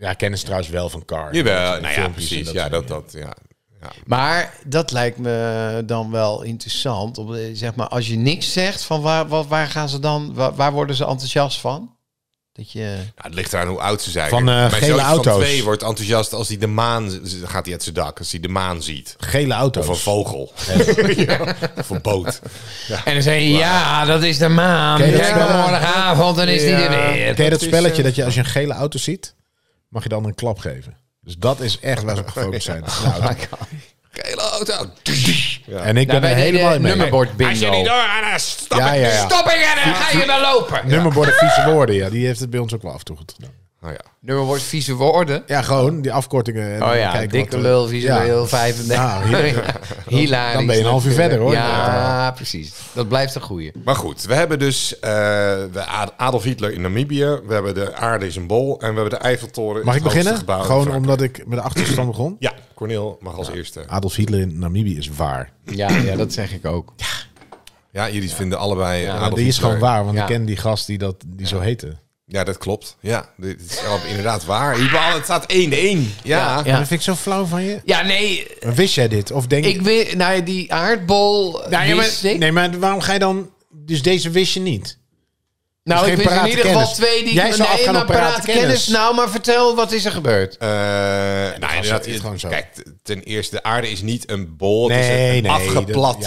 Ja, kennen ze trouwens wel van Car. Jawel, nou ja, filmpjes en precies. dat Ja, soort dat, dat, ja. Nou, Maar dat lijkt me dan wel interessant. Om, eh, Zeg maar, als je niks zegt, van waar, waar, waar gaan ze dan? Waar, waar worden ze enthousiast van? Dat je. Nou, het ligt eraan hoe oud ze zijn. Van, eh, Mijn gele zoontje auto's. Van twee wordt enthousiast als hij de maan... z- gaat hij uit zijn dak als hij de maan ziet. Gele auto's. Of een vogel. Ja, Of een boot. En dan zeggen ja, dat is de maan. Ken je dat Kijk spel? maar morgenavond, dan is die er weer. Ken je dat spelletje dat je als je een gele auto ziet, mag je de ander een klap geven? Dus dat is echt waar ze op gefocust zijn. Nou, Gele auto. En ik ben er helemaal in mee. nummerbord bingo. Als je niet Ah, doorgaan, stop Ja, ik. ja, ja. Stop ik en dan ga je wel lopen. Nummerborden vieze woorden, ja. Die heeft het bij ons ook wel af en toe goed gedaan. Nou ja. Nummerbord vieze woorden. Ja, gewoon die afkortingen. en Oh dan ja, kijken dikke wat we- lul, visueel, Ja. 35. Nou, hier- Hilarisch. Dan ben je een half uur verder, hoor. Ja, precies. Dat blijft een goeie. Maar goed, we hebben dus eh, we Ad- Adolf Hitler in Namibië. We hebben de aarde is een bol. En we hebben de Eiffeltoren. Mag ik het hoogste beginnen? gebouw in Gewoon Frankrijk. omdat ik met de achterstand begon. Ja, Corneel mag als eerste. Adolf Hitler in Namibië is waar. Ja, ja, dat zeg ik ook. Ja, jullie vinden allebei Adolf Maar die is Hitler. gewoon waar, want Ja. ik ken die gast die, dat, die zo heette. Ja, dat klopt. Ja, dit is al- inderdaad waar. Hier behalve, Het staat 1-1. Ja. Eh, Ja. Dat vind ik zo flauw van je. Ja, nee, Maar wist jij dit? Of denk ik weet, nou ja, die aardbol Nou, eh, Ja, ja, maar- wist ik. nee, maar waarom ga je dan... Dus deze wist je niet. nou, dus ik geen wist in parate ieder geval kennis. twee die... Jij zou nee, afgaan maar op parate kennis. Nou, maar vertel, wat is er gebeurd? Eh, nou, inderdaad, is het gewoon zo. Kijk, t- ten eerste, de aarde is niet een bol. het Nee, is een nee, afgeplatte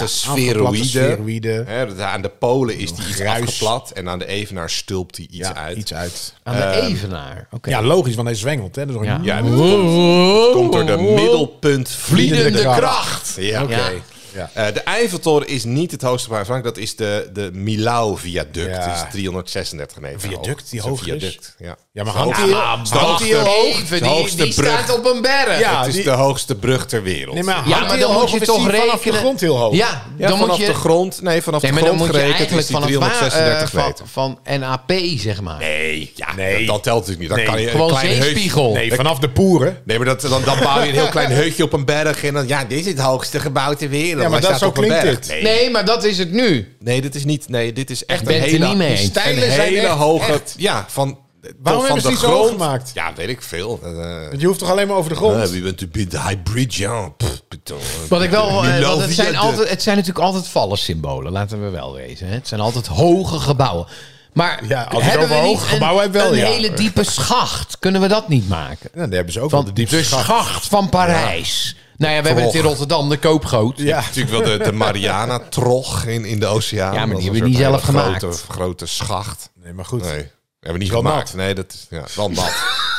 dat- ja, sferoïde. afgeplatte sferoïde. Hè, dat- aan de polen is die iets gruis. afgeplat. En aan de evenaar stulpt die iets ja, uit. iets uit. Aan de evenaar. Oké. Ja, logisch, want hij zwengelt. Hè? Dus Ja. ja. Ja, dat komt, komt door de middelpuntvliedende Oh, Vliedende kracht. Ja, oké. Ja. Ja. Eh, de Eiffeltoren is niet het hoogste gebouw in Frankrijk. Dat is de, de Milau-viaduct. Ja. Dat is 336 meter Viaduct die hoog. hoog is? Zo'n viaduct, ja. Ja, maar ah, Zo'n hangt hoog- die- Ja, hangt hoogste- die heel hoog? Zo'n Ah, Even, die, hoogste die staat brug. op een berg. Ja. Eh, het is die- de hoogste brug ter wereld. Nee, maar, Ja, hangt maar hij dan heel moet hoog je of is toch hij rekenen... vanaf de grond heel hoog. Ja, Ja, dan vanaf moet je... de grond. Nee, vanaf nee, de maar dan grond moet je gerekend eigenlijk is die vanaf, waar, eh, 336 van, meter. van NAP, zeg maar. Nee, ja, dat, dat telt natuurlijk niet. Dan Nee. kan je een Gewoon klein heus- zeespiegel. Nee, vanaf de poeren. Nee, maar dat, dan, dan bouw je een heel klein heutje op een berg. En dan, ja, dit is het hoogste gebouw ter wereld. Ja, maar Hij dat- staat zo op een klinkt berg. het. Nee, nee. Nee, maar dat is het nu. dit is niet. Nee, dit is echt bent een het hele, niet mee eens. een Stijlen zijn hele echt- hoge. echt. Ja, van, Waarom van hebben ze de die zo grond. hoog gemaakt? Ja, weet ik veel. Eh, Want je hoeft toch alleen maar over de grond? eh, Wie bent u bent de hybrid, ja. Pff, beton. Wat ik wel, eh, Milan want het, zijn viaduct. altijd, het zijn natuurlijk altijd vallensymbolen, laten we wel wezen. Hè? Het zijn altijd hoge gebouwen. Maar Ja, als je het hebben we over hoge niet gebouwen een, hebt, wel, een ja. hele diepe schacht? Kunnen we dat niet maken? Nou, daar hebben ze ook Van wel de de, diepste schacht. schacht. van Parijs. Nou ja, we hebben het in Rotterdam, de koopgoot. Ja. Natuurlijk wel de, de Mariana-trog in, in de oceaan. Ja, maar die Dat is hebben een we soort niet hele zelf gemaakt. Grote, grote schacht. Nee, maar goed. Nee, hebben we niet Wel nat. gemaakt. Nee, dat is ja, wel nat.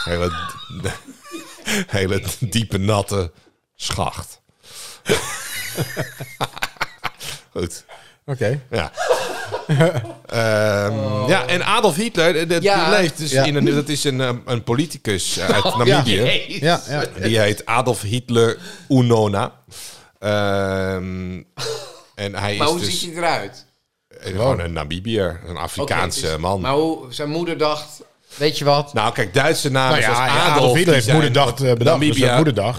hele, hele diepe, natte schacht. Goed. Oké. Ja. Ehm, ja, en Adolf Hitler, eh, dat, Oh. Ja. die leeft dus Ja. in een, dat is een, ehm, een politicus uit Namibië. Ja, ja. Die heet Adolf Hitler Unona. Ehm, en hij Maar is hoe dus eh, ziet hij eruit? gewoon een Namibiër, een Afrikaanse Oké, dus- man. Maar hoe zijn moeder dacht, weet je wat? nou, kijk, Duitse namen Nou ja, zoals ja, Adolf, Adolf, Hitler die heeft zijn- moederdag eh, bedacht. Namibia. Dus Namibia, dat moederdag.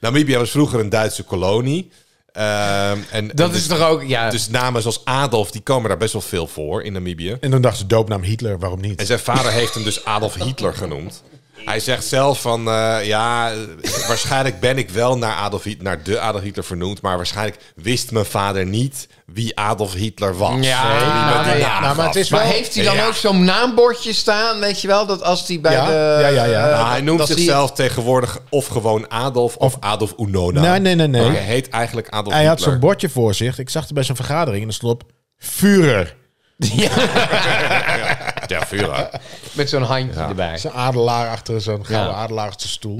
Namibia was vroeger een Duitse kolonie. Ehm, en, dat en is dus, toch ook, ja. dus namen zoals Adolf, die komen daar best wel veel voor in Namibië. En toen dacht ze doopnaam Hitler, waarom niet? En zijn vader heeft hem dus Adolf Hitler genoemd. Hij zegt zelf van, eh, ja, eh, waarschijnlijk ben ik wel naar, Adolf Hit- naar de Adolf Hitler vernoemd, maar waarschijnlijk wist mijn vader niet wie Adolf Hitler was. Ja, Wie me nou, die ja, naam nou, maar het gaf. is maar wel- heeft hij dan Ja. ook zo'n naambordje staan, weet je wel? Dat als hij bij Ja, de... ja, ja, ja. eh, Nou, hij noemt dat zichzelf tegenwoordig of gewoon Adolf of, Adolf Unona. Nee, nee, nee, nee. Maar hij heet eigenlijk Adolf Hij had Hitler. zo'n bordje voor zich. Ik zag het bij zo'n vergadering en er stond op... Führer. Ja, Führer. Met zo'n handje erbij. Zijn adelaar achter zo'n gouden Ja. adelaar achter zijn stoel.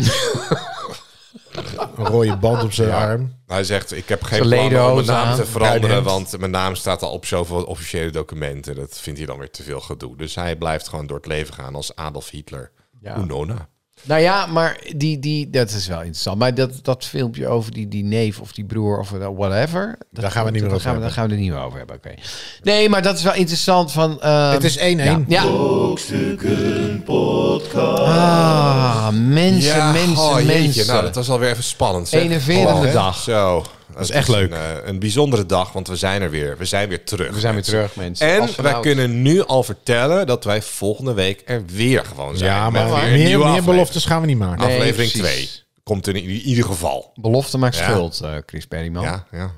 Een rode band op zijn arm. Hij zegt, ik heb geen Zijn plan om mijn ledenhosen naam aan. te veranderen, Kruidhemd. want mijn naam staat al op zoveel officiële documenten. Dat vindt hij dan weer te veel gedoe. Dus hij blijft gewoon door het leven gaan als Adolf Hitler. Ja. Unona. Nou ja, maar die, die, dat is wel interessant. Maar dat, dat filmpje over die, die neef of die broer of whatever. dat- Daar gaan we niet meer dat over gaan hebben. we, Daar gaan we het niet meer over hebben. Oké. Nee, maar dat is wel interessant. Van, ehm, Het is 1-1. ja. ja. Ah, mensen, mensen, oh, jeetje. mensen. Nou, dat was alweer even spannend. zeg. Enerverende hè? dag. Zo. Dat is echt leuk. Een, eh, een bijzondere dag, want we zijn er weer. We zijn weer terug. We zijn weer mensen. terug, mensen. En Astronaut. wij kunnen nu al vertellen dat wij volgende week er weer gewoon zijn. Ja, Met weer maar een meer, nieuwe meer aflevering. beloftes gaan we niet maken. Nee, aflevering precies. 2 komt er in i- ieder geval. Belofte maakt Ja. schuld, eh, Chris Perryman. Ja, ja.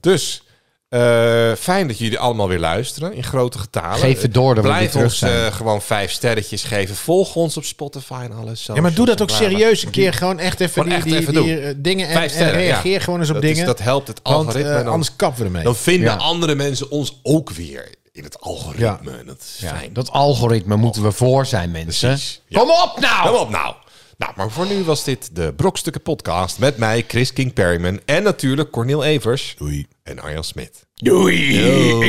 Dus eh, fijn dat jullie allemaal weer luisteren in grote getalen. Geef het door dat we weer Blijf terug ons eh, zijn. gewoon vijf sterretjes geven. Volg ons op Spotify en alles. Ja, maar doe dat ook Socials en bla, bla. serieus een keer. Gewoon echt even Gewoon die, echt die, even die, doen. eh, dingen en, Vijf en sterren, ja. reageer gewoon eens op Dat, is- dingen. dat helpt het want algoritme. eh, en dan, anders kappen we ermee. dan vinden Ja. andere mensen ons ook weer in het algoritme. Dat is Ja, fijn. Dat algoritme moeten we voor zijn, mensen. Precies. Ja. Kom op nou! Kom op nou. Nou, maar voor nu was dit de Brokstukken podcast met mij, Chris King Perryman en natuurlijk Cornel Evers Doei. en Arjan Smit. Ik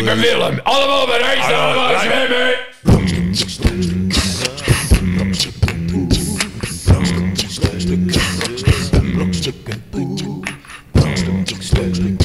ben Willem. Allemaal bereid. Allemaal zwemmen. Brokstukken poe. Brokstukken poe. Brokstukken